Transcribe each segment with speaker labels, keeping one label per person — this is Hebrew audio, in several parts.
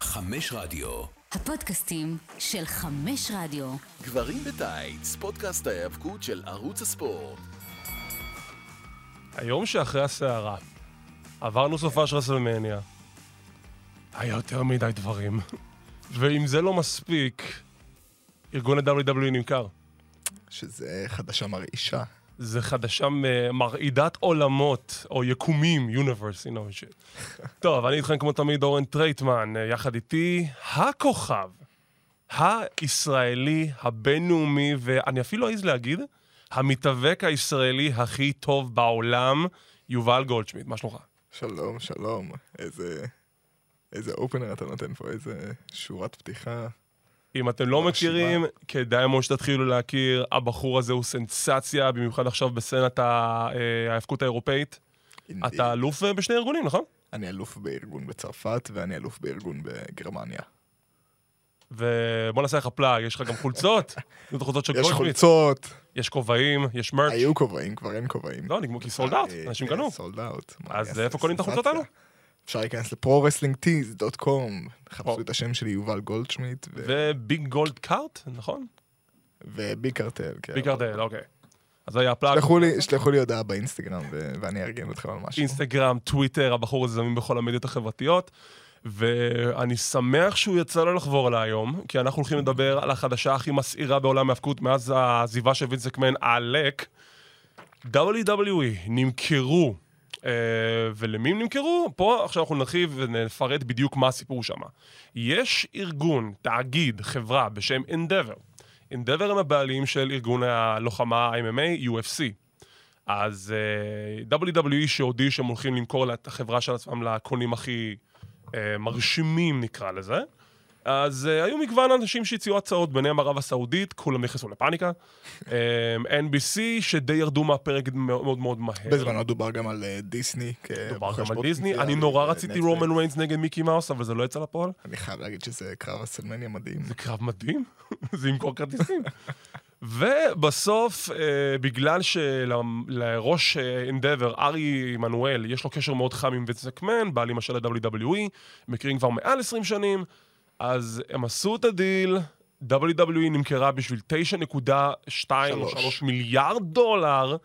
Speaker 1: חמש רדיו.
Speaker 2: הפודקאסטים של חמש רדיו.
Speaker 1: גברים בטייץ, פודקאסט ההיאבקות של ערוץ הספורט.
Speaker 3: היום שאחרי הסערה, עברנו סופה של רסלמניה, היה יותר מדי דברים. ואם זה לא מספיק, ארגון ה-WW נמכר.
Speaker 4: שזה חדשה מרעישה.
Speaker 3: זה חדשה מ- מרעידת עולמות, או יקומים, universe, you know shit. טוב, אני איתכם כמו תמיד אורן טרייטמן, אה, יחד איתי הכוכב, הישראלי, הבינלאומי, ואני אפילו אעז להגיד, המתאבק הישראלי הכי טוב בעולם, יובל גולדשמיט, מה שלומך?
Speaker 4: שלום, שלום. איזה... איזה אופנר אתה נותן פה, איזה שורת פתיחה.
Speaker 3: אם אתם לא
Speaker 4: מרשימה.
Speaker 3: מכירים, כדאי מאוד שתתחילו להכיר. הבחור הזה הוא סנסציה, במיוחד עכשיו בסצנת ה- אה, האבקות האירופאית.
Speaker 4: אינדי.
Speaker 3: אתה אלוף אה, בשני ארגונים, נכון?
Speaker 4: אני אלוף בארגון בצרפת ואני אלוף בארגון בגרמניה.
Speaker 3: ובוא נעשה לך פלאג, יש לך גם חולצות? יש לך חולצות של
Speaker 4: יש
Speaker 3: גולדשמיט,
Speaker 4: חולצות,
Speaker 3: יש כובעים, יש מרץ'.
Speaker 4: היו כובעים, כבר אין כובעים. אה,
Speaker 3: לא, נגמור כי סולד אאוט, אנשים קנו.
Speaker 4: סולד אאוט.
Speaker 3: אז איפה קונים את החולצות האלו?
Speaker 4: אפשר להיכנס לפרו-רסלינג-טיז.קום, חפשו
Speaker 3: או.
Speaker 4: את השם שלי יובל גולדשמיט, ו-
Speaker 3: וביג גולד קארט, נכון?
Speaker 4: ובי קרטל, כן.
Speaker 3: ביג קארטל, אוקיי. אז זה היה הפלאג,
Speaker 4: שלחו לי- שלחו לי הודעה באינסטגרם ו- ואני אארגן אתכם על משהו.
Speaker 3: אינסטגרם, טוויטר, הבחור הזה זמין בכל המדיות החברתיות. ואני שמח שהוא יצא לו לחבור אליי היום, כי אנחנו הולכים לדבר על החדשה הכי מסעירה בעולם ההאבקות מאז העזיבה של וינסקמן, עלק. WWE נמכרו, אה, ולמי הם נמכרו? פה עכשיו אנחנו נרחיב ונפרט בדיוק מה הסיפור שם. יש ארגון, תאגיד, חברה בשם Endeavor. Endeavor הם הבעלים של ארגון הלוחמה ה-MMA, UFC. אז uh, WWE שהודיעו שהם הולכים למכור את החברה של עצמם לקונים הכי uh, מרשימים, נקרא לזה. אז uh, היו מגוון אנשים שהציעו הצעות, ביניהם ערב הסעודית, כולם נכנסו לפאניקה. um, NBC, שדי ירדו מהפרק מאוד מאוד, מאוד מהר.
Speaker 4: בזמנו דובר גם על אה, דיסני.
Speaker 3: כן. דובר גם על דיסני. אני נורא רציתי רומן ריינס נגד מיקי מאוס, אבל זה לא יצא לפועל.
Speaker 4: אני חייב להגיד שזה קרב הסלמניה מדהים.
Speaker 3: זה קרב מדהים, זה ימכור כרטיסים. ובסוף, אה, בגלל שלראש אנדבר, ארי עמנואל, יש לו קשר מאוד חם עם ויץ מקמן, בעלים של ה-WWE, E, מכירים כבר מעל 20 שנים, אז הם עשו את הדיל, WWE נמכרה בשביל 9.2 או
Speaker 4: שלוש.
Speaker 3: 3 מיליארד דולר,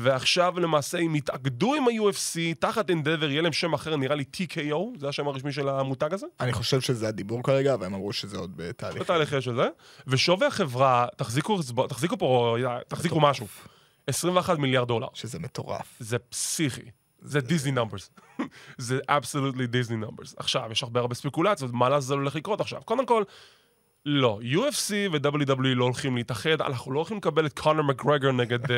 Speaker 3: ועכשיו למעשה הם התאגדו עם ה-UFC, תחת אנדבר יהיה להם שם אחר, נראה לי TKO, זה השם הרשמי של המותג הזה.
Speaker 4: אני חושב שזה הדיבור כרגע, והם אמרו שזה עוד בתהליך.
Speaker 3: בתהליך יש את זה, ושווי החברה, תחזיקו, תחזיקו פה, תחזיקו משהו, 21 מיליארד דולר.
Speaker 4: שזה מטורף.
Speaker 3: זה פסיכי. זה דיסני נאמברס. זה absolutely דיסני נאמברס. עכשיו, יש הרבה הרבה ספקולציות, מה לעזאזל הולך לקרות עכשיו? קודם כל, לא, UFC ו-WWE לא הולכים להתאחד, אנחנו לא הולכים לקבל את קונר מקגרגר נגד אה,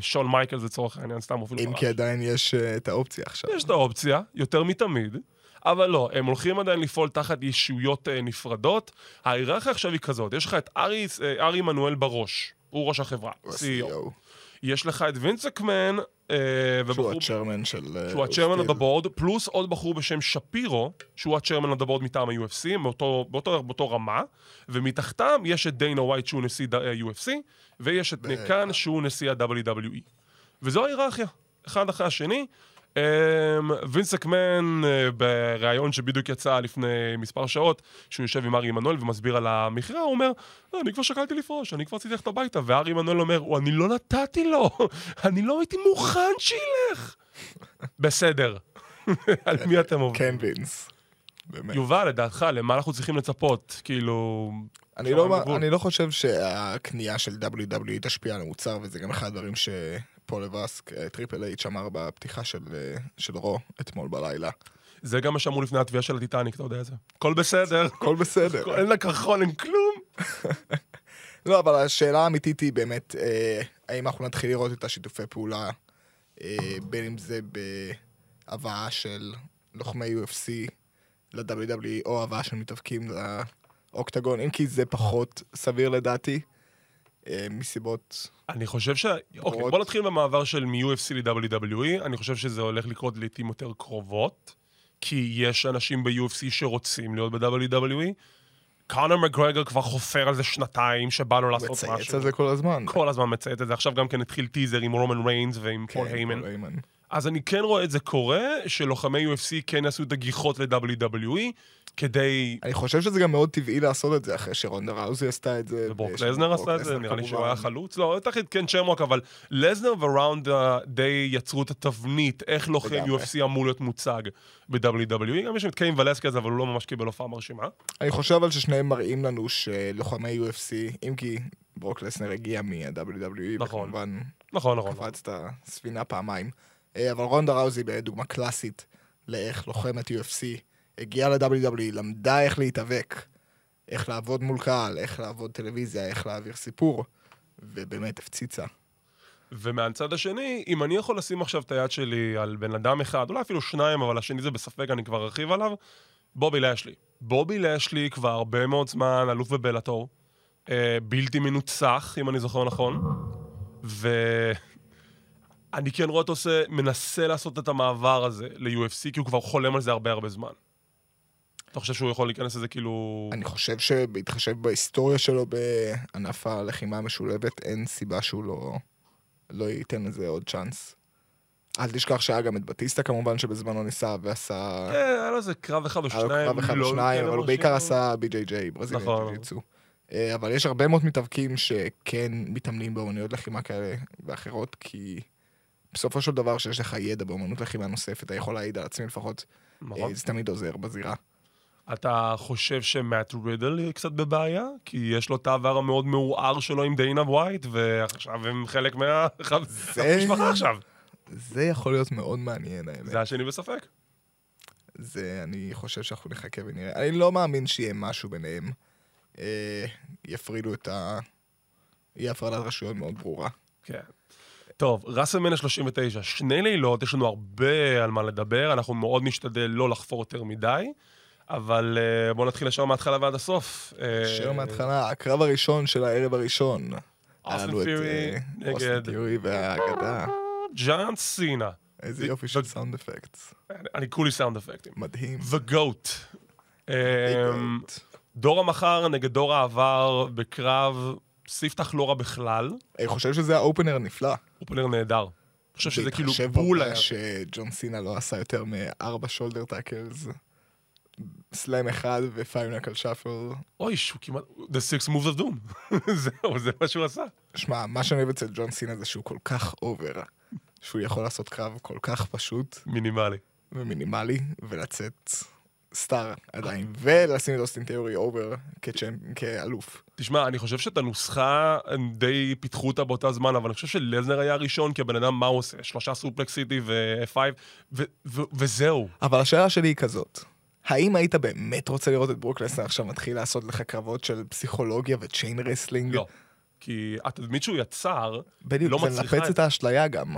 Speaker 3: שון מייקלס לצורך העניין, סתם אפילו. לא-
Speaker 4: אם
Speaker 3: ברח.
Speaker 4: כי עדיין יש אה, את האופציה עכשיו.
Speaker 3: יש את האופציה, יותר מתמיד, אבל לא, הם הולכים עדיין לפעול תחת ישויות אה, נפרדות. ההיררכיה עכשיו היא כזאת, יש לך את ארי, אה, ארי עמנואל בראש, הוא ראש החברה,
Speaker 4: הוא E
Speaker 3: CEO.
Speaker 4: ה-CEO,
Speaker 3: יש לך את וינסקמן, אה,
Speaker 4: שהוא
Speaker 3: ובחור...
Speaker 4: הצ'רמן של... אה,
Speaker 3: שהוא ה-Chairman of
Speaker 4: סטיל.
Speaker 3: the Board, פלוס עוד בחור בשם שפירו, שהוא ה-Chairman of the Board מטעם ה-UFC, מאותו, באותו, באותו רמה, ומתחתם יש את דיינה ווייט שהוא נשיא ד- אה, UFC, ויש את
Speaker 4: בטח.
Speaker 3: נקאן שהוא נשיא ה-WWE. וזו ההיררכיה, אחד אחרי השני. אמ, וינס אקמן, אה, בריאיון שבדיוק יצא לפני מספר שעות, שהוא יושב עם ארי עמנואל ומסביר על המכירה, הוא אומר, לא, אני כבר שקלתי לפרוש, אני כבר רציתי ללכת הביתה, וארי עמנואל אומר, "הוא, אני לא נתתי לו, אני לא הייתי מוכן שילך. בסדר. על מי אתם עובדים?
Speaker 4: כן, וינס. באמת.
Speaker 3: יובל, לדעתך, למה אנחנו צריכים לצפות? כאילו...
Speaker 4: אני
Speaker 3: שם
Speaker 4: לא
Speaker 3: אין
Speaker 4: מה-
Speaker 3: גבול.
Speaker 4: אני לא חושב שהקנייה של WWE תשפיע על המוצר, וזה גם אחד הדברים שפול לבסק, אה, טריפל אייץ' אמר בפתיחה של, אה, של רו אתמול בלילה.
Speaker 3: זה גם מה שאמרו לפני התביעה של הטיטניק, אתה יודע את זה. הכל בסדר,
Speaker 4: הכל בסדר.
Speaker 3: הכל- אין לה קרחון, אין כלום.
Speaker 4: לא, אבל השאלה האמיתית היא באמת, אה, האם אנחנו נתחיל לראות את השיתופי פעולה, אה, בין אם זה בהבאה של לוחמי UFC ל-WWE, E, או הבאה של מתאבקים לאוקטגון, אם כי זה פחות סביר לדעתי, אה, מסיבות...
Speaker 3: אני חושב ש... אוקיי, בוא
Speaker 4: רוט.
Speaker 3: נתחיל במעבר של מ-UFC ל-WWE. E. אני חושב שזה הולך לקרות לעיתים יותר קרובות, כי יש אנשים ב-UFC שרוצים להיות ב-WWE. קונר מגרגר כבר חופר על זה שנתיים, שבא לו לעשות משהו.
Speaker 4: מצייץ על זה כל הזמן. כן,
Speaker 3: כל הזמן מציית את זה. עכשיו גם כן התחיל טיזר עם רומן ריינס ועם פול היימן. אז אני כן רואה את זה קורה, שלוחמי UFC כן יעשו את הגיחות ל-WWE, כדי...
Speaker 4: אני חושב שזה גם מאוד טבעי לעשות את זה אחרי שרונדה ראוזי עשתה את זה.
Speaker 3: וברוק
Speaker 4: ויש-
Speaker 3: לזנר
Speaker 4: אה, ברוק
Speaker 3: עשה את זה,
Speaker 4: לזנר
Speaker 3: נראה לי שהוא
Speaker 4: כמובן.
Speaker 3: היה חלוץ, לא, בטח כן צ'רמוק, אבל לזנר וראונדה די יצרו את התבנית, איך לוחם
Speaker 4: לגמרי.
Speaker 3: UFC אמור להיות מוצג ב-WWE, גם יש שם את קיין ולסקי אבל הוא לא ממש קיבל הופעה מרשימה.
Speaker 4: אני חושב אבל ששניהם מראים לנו שלוחמי UFC, אם כי ברוק לסנר הגיע מה-WWE,
Speaker 3: נכון.
Speaker 4: וכמובן
Speaker 3: נכון, נכון.
Speaker 4: קפץ את הספינה פעמיים. אה, אבל רונדה ראוזי באמת דוגמה קלאסית לאיך לוחמת UFC הגיעה ל-WWE, למדה איך להתאבק, איך לעבוד מול קהל, איך לעבוד טלוויזיה, איך להעביר סיפור, ובאמת הפציצה.
Speaker 3: ומהצד השני, אם אני יכול לשים עכשיו את היד שלי על בן אדם אחד, אולי אפילו שניים, אבל השני זה בספק, אני כבר ארחיב עליו, בובי לשלי. בובי לשלי כבר הרבה מאוד זמן אלוף בבלאטור, אה, בלתי מנוצח, אם אני זוכר נכון, ואני כן רואה אותו עושה, מנסה לעשות את המעבר הזה ל-UFC, כי הוא כבר חולם על זה הרבה הרבה זמן. אתה חושב שהוא יכול להיכנס לזה כאילו...
Speaker 4: אני חושב שבהתחשב בהיסטוריה שלו בענף הלחימה המשולבת, אין סיבה שהוא לא, לא ייתן לזה עוד צ'אנס. אל תשכח שהיה גם את בטיסטה כמובן, שבזמנו ניסה ועשה...
Speaker 3: כן, היה לו איזה קרב אחד או
Speaker 4: היה לו
Speaker 3: שניים.
Speaker 4: קרב אחד
Speaker 3: לא
Speaker 4: או שניים,
Speaker 3: כאלה
Speaker 4: אבל הוא בעיקר
Speaker 3: מרשימים.
Speaker 4: עשה BJJ, ברזילאי
Speaker 3: נכון.
Speaker 4: ג'ו-ג'יצו. אה, אבל יש הרבה מאוד מתאבקים שכן מתאמנים באמנויות לחימה כאלה ואחרות, כי בסופו של דבר שיש לך ידע באמנות לחימה נוספת, אתה יכול להעיד על עצמי לפחות,
Speaker 3: נכון.
Speaker 4: אה, זה תמיד עוזר בזירה.
Speaker 3: אתה חושב שמאט רידל יהיה קצת בבעיה? כי יש לו את העבר המאוד מעורער שלו עם דיינה ווייט, ועכשיו הם חלק מה- מהמשפחה עכשיו.
Speaker 4: זה יכול להיות מאוד מעניין, האמת.
Speaker 3: זה השני בספק.
Speaker 4: זה, אני חושב שאנחנו נחכה ונראה. אני לא מאמין שיהיה משהו ביניהם. אה, יפרידו את ה... יהיה הפרדת רשויות מאוד ברורה.
Speaker 3: כן. טוב, ראסלמן 39, שני לילות, יש לנו הרבה על מה לדבר, אנחנו מאוד נשתדל לא לחפור יותר מדי, אבל אה, בואו נתחיל ישר מההתחלה ועד הסוף. אה,
Speaker 4: שיר מההתחלה, הקרב הראשון של הערב הראשון. היה
Speaker 3: אוסטין
Speaker 4: לנו את,
Speaker 3: פיורי
Speaker 4: אה,
Speaker 3: נגד
Speaker 4: אוסטין פיורי והאגדה.
Speaker 3: ג'אן סינה.
Speaker 4: איזה יופי של סאונד אפקטס.
Speaker 3: אני- אני כולי סאונד אפקטים.
Speaker 4: מדהים.
Speaker 3: The Goat. אמ,
Speaker 4: Goat.
Speaker 3: דור המחר נגד דור העבר בקרב ספתח לא רע בכלל,
Speaker 4: אני חושב שזה האופנר נפלא.
Speaker 3: אופנר נהדר. אני חושב שזה כאילו
Speaker 4: בהתחשב
Speaker 3: בול
Speaker 4: בעובדה
Speaker 3: היה.
Speaker 4: שג'ון סינה לא עשה יותר מארבע שולדר טאקלס, סלאם אחד ופייבנקל שפל.
Speaker 3: אוי, שהוא כמעט... The Six Moves of Doom. זהו, זה מה שהוא עשה.
Speaker 4: שמע, מה שאני אוהב אצל ג'ון סינה זה שהוא כל כך אובר, שהוא יכול לעשות קרב כל כך פשוט
Speaker 3: מינימלי.
Speaker 4: ומינימלי, ולצאת סטאר עדיין, ולשים את אוסטין תיאורי אובר כצ'מפ- כאלוף.
Speaker 3: תשמע, אני חושב שאת הנוסחה, הם די פיתחו אותה באותה זמן, אבל אני חושב שלזנר היה הראשון, כי הבן אדם, מה הוא עושה? שלושה סופלקס סיטי ו-F5, ו- ו- וזהו.
Speaker 4: אבל השאלה שלי היא כזאת, האם היית באמת רוצה לראות את ברוק לסנר עכשיו מתחיל לעשות לך קרבות של פסיכולוגיה וצ'יין רסלינג?
Speaker 3: לא. כי התדמית שהוא יצר,
Speaker 4: בדיוק,
Speaker 3: לא
Speaker 4: זה
Speaker 3: מצליחה
Speaker 4: מנפץ
Speaker 3: את-
Speaker 4: את האשליה גם,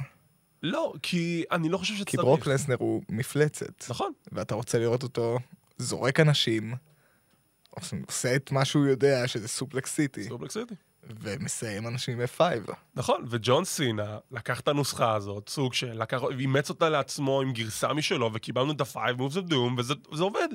Speaker 3: לא, כי אני לא חושב
Speaker 4: כי
Speaker 3: שצריך.
Speaker 4: ברוק לסנר הוא מפלצת,
Speaker 3: נכון.
Speaker 4: ואתה רוצה לראות אותו זורק אנשים, עושה את מה שהוא יודע, שזה סופלקס סיטי.
Speaker 3: סופלקס סיטי.
Speaker 4: ומסיים אנשים לא. F5.
Speaker 3: נכון, וג'ון סינה לקח את הנוסחה הזאת, סוג של, לקח, אימץ אותה לעצמו עם גרסה משלו, וקיבלנו את ה-Five Moves of Doom, וזה זה עובד.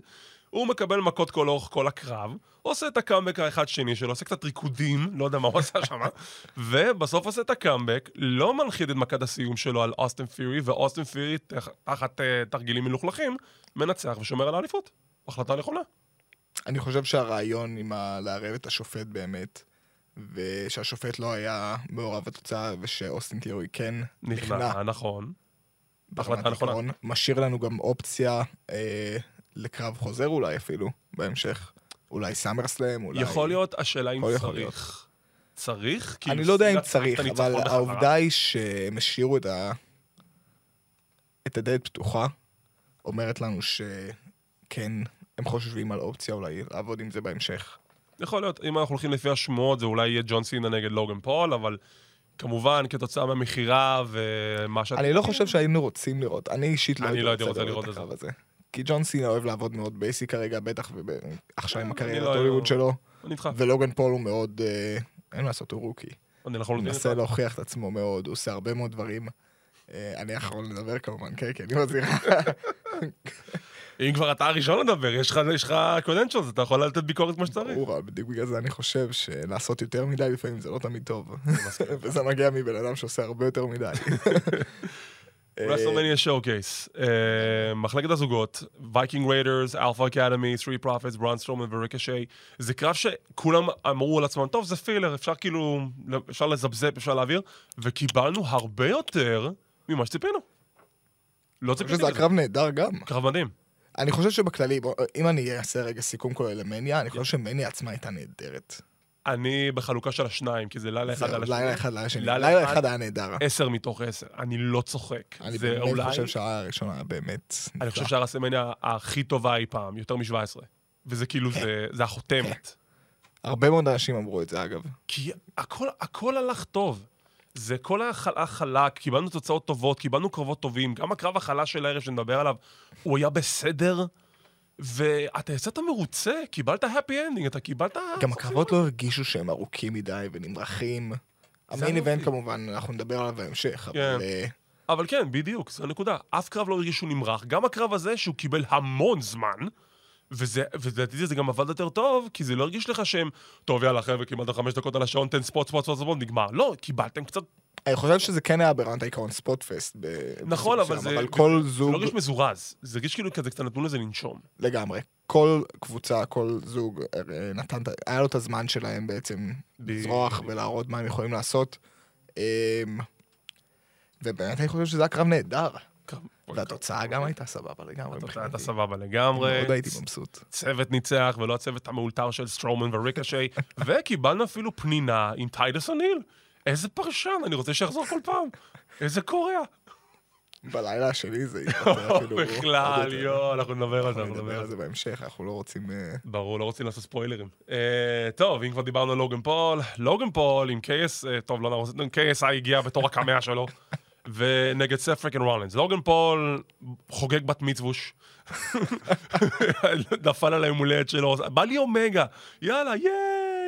Speaker 3: הוא מקבל מכות כל אורך כל הקרב, עושה את הקאמבק האחד שני שלו, עושה קצת ריקודים, לא יודע מה הוא עשה שם, ובסוף עושה את הקאמבק, לא מנחית את מכת הסיום שלו על אוסטן פיורי, ואוסטן פיורי, תח- תחת אה, תרגילים מלוכלכים, מנצח ושומר על האליפות. החלטה נכונה.
Speaker 4: אני חושב שהרעיון עם ה... לערב את השופט באמת, ושהשופט לא היה מעורב בתוצאה, ושאוסטין תיאורי כן נכנע.
Speaker 3: נכנע, נכון.
Speaker 4: ברמת
Speaker 3: החלטה נכונה.
Speaker 4: העיקרון. משאיר לנו גם אופציה אה, לקרב חוזר אולי אפילו, בהמשך. אולי סאמר סלאם, אולי...
Speaker 3: יכול להיות, השאלה אם
Speaker 4: הכל יכול
Speaker 3: צריך. צריך? כי
Speaker 4: אני
Speaker 3: הוא
Speaker 4: לא יודע
Speaker 3: סינה
Speaker 4: אם
Speaker 3: צריך את
Speaker 4: צריך,
Speaker 3: הניצחון
Speaker 4: אבל
Speaker 3: בחזרה.
Speaker 4: העובדה היא שהם השאירו את ה... את הדלת פתוחה, אומרת לנו שכן, הם חושבים על אופציה אולי לעבוד עם זה בהמשך.
Speaker 3: יכול להיות, אם אנחנו הולכים לפי השמועות, זה אולי יהיה ג'ון סינה נגד לוגן פול, אבל כמובן, כתוצאה מהמכירה ומה שאתה...
Speaker 4: אני לא חושב שהיינו רוצים לראות, אני אישית לא
Speaker 3: אני לא הייתי רוצה לראות
Speaker 4: את
Speaker 3: את
Speaker 4: הקרב הזה. כי ג'ון סינה אוהב לעבוד מאוד בייסי כרגע, בטח וב- עכשיו עם
Speaker 3: אני
Speaker 4: הקריירת
Speaker 3: לא-
Speaker 4: הוליווד שלו,
Speaker 3: אני איתך,
Speaker 4: ולוגן פול הוא מאוד, אה, אין מה לעשות, הוא רוקי.
Speaker 3: אני נכון
Speaker 4: הוא
Speaker 3: לומר
Speaker 4: מנסה להוכיח את עצמו מאוד, הוא עושה הרבה מאוד דברים. אה, אני האחרון לדבר כמובן, כן, כי אני מזהירה.
Speaker 3: אם כבר אתה הראשון לדבר, יש לך- יש לך קודנצ'לס, אתה יכול לתת ביקורת כמו שצריך.
Speaker 4: ברור, אבל בדיוק בגלל זה אני חושב שלעשות יותר מדי לפעמים זה לא תמיד טוב. וזה מגיע מבן אדם שעושה הרבה יותר מדי.
Speaker 3: רסלמניה שואו-קייס, אה, מחלקת הזוגות, וייקינג ריידרס, אלפא אקדמי, 3 פרופיטס, ברנסטרומן וריקשי, זה קרב שכולם אמרו על עצמם, טוב, זה פילר, אפשר כאילו, אפשר לזבזב, אפשר להעביר, וקיבלנו הרבה יותר ממה שציפינו. לא
Speaker 4: אני
Speaker 3: ציפיתי
Speaker 4: חושב שזה
Speaker 3: לזה.
Speaker 4: הקרב נהדר גם.
Speaker 3: קרב מדהים.
Speaker 4: אני חושב שבכללי, בוא, אם אני אעשה רגע סיכום כולל למניה, אני חושב שמניה עצמה הייתה נהדרת.
Speaker 3: אני בחלוקה של השניים, כי זה לילה אחד
Speaker 4: זהו,
Speaker 3: על השני.
Speaker 4: לילה אחד לילה שני.
Speaker 3: לילה
Speaker 4: לילה
Speaker 3: אחד-
Speaker 4: אחד היה נהדר.
Speaker 3: עשר מתוך עשר, אני לא צוחק.
Speaker 4: אני
Speaker 3: זה
Speaker 4: באמת
Speaker 3: אולי-
Speaker 4: חושב שהרעיון הראשון היה באמת
Speaker 3: אני
Speaker 4: נפלא.
Speaker 3: חושב שהרסלמניה הכי טובה אי פעם, יותר מ-17. וזה כאילו,
Speaker 4: כן.
Speaker 3: זה- זה החותמת.
Speaker 4: הרבה מאוד אנשים אמרו את זה, אגב.
Speaker 3: כי הכל, הכל הלך טוב. זה כל היה חלק, קיבלנו תוצאות טובות, קיבלנו קרבות טובים, גם הקרב החלש של הערב שנדבר עליו, הוא היה בסדר, ואתה יצאת מרוצה, קיבלת happy ending, אתה קיבלת...
Speaker 4: גם הקרבות לא הרגישו שהם ארוכים מדי ונמרחים. המיין
Speaker 3: אמיתי.
Speaker 4: איבנט כמובן, אנחנו נדבר עליו בהמשך,
Speaker 3: כן.
Speaker 4: אבל... אה,
Speaker 3: אבל כן, בדיוק, זו הנקודה. אף קרב לא הרגיש שהוא נמרח. גם הקרב הזה, שהוא קיבל המון זמן, וזה, ולדעתי זה גם עבד יותר טוב, כי זה לא הרגיש לך שהם, טוב, יאללה, חבר'ה, קיבלתם חמש דקות על השעון, תן ספוט, ספוט, ספוט, ספוט, נגמר. לא, קיבלתם קצת...
Speaker 4: אני חושב שזה כן היה ברמת העיקרון ספוטפסט. ב-
Speaker 3: נכון,
Speaker 4: בסופו
Speaker 3: אבל
Speaker 4: של
Speaker 3: זה-
Speaker 4: דבר, אבל כל
Speaker 3: זה
Speaker 4: זוג,
Speaker 3: לא הרגיש מזורז. זה הרגיש כאילו כזה, קצת נתנו לזה לנשום.
Speaker 4: לגמרי. כל קבוצה, כל זוג אה, נתן, את- היה לו את הזמן שלהם בעצם
Speaker 3: בדיוק.
Speaker 4: לזרוח ולהראות מה הם יכולים לעשות. אמ, ובאמת אני חושב שזה היה קרב נהדר. והתוצאה גם הייתה סבבה לגמרי.
Speaker 3: התוצאה
Speaker 4: מבחינתי.
Speaker 3: הייתה סבבה לגמרי.
Speaker 4: מאוד הייתי מבסוט.
Speaker 3: צוות ניצח, ולא הצוות המאולתר של סטרומן וריקשי, וקיבלנו אפילו פנינה עם טיידס אוניל. איזה פרשן, אני רוצה שיחזור כל פעם. איזה קוריאה.
Speaker 4: בלילה השני זה התפתח אפילו... עוד
Speaker 3: בכלל,
Speaker 4: יותר.
Speaker 3: יואו, אנחנו נדבר על זה,
Speaker 4: אנחנו
Speaker 3: אנחנו
Speaker 4: נדבר על זה בהמשך, אנחנו לא רוצים... אה,
Speaker 3: ברור, לא רוצים לעשות ספוילרים. אה, טוב, אם כבר דיברנו על לוגן פול, לוגן פול עם KS, אה, טוב, לא נרוס, KSI הגיע בתור הקמע שלו, ונגד ספריק רולינס. לוגן פול חוגג בת מצווש, נפל על היום הולדת שלו, בא לי אומגה, יאללה, ייי,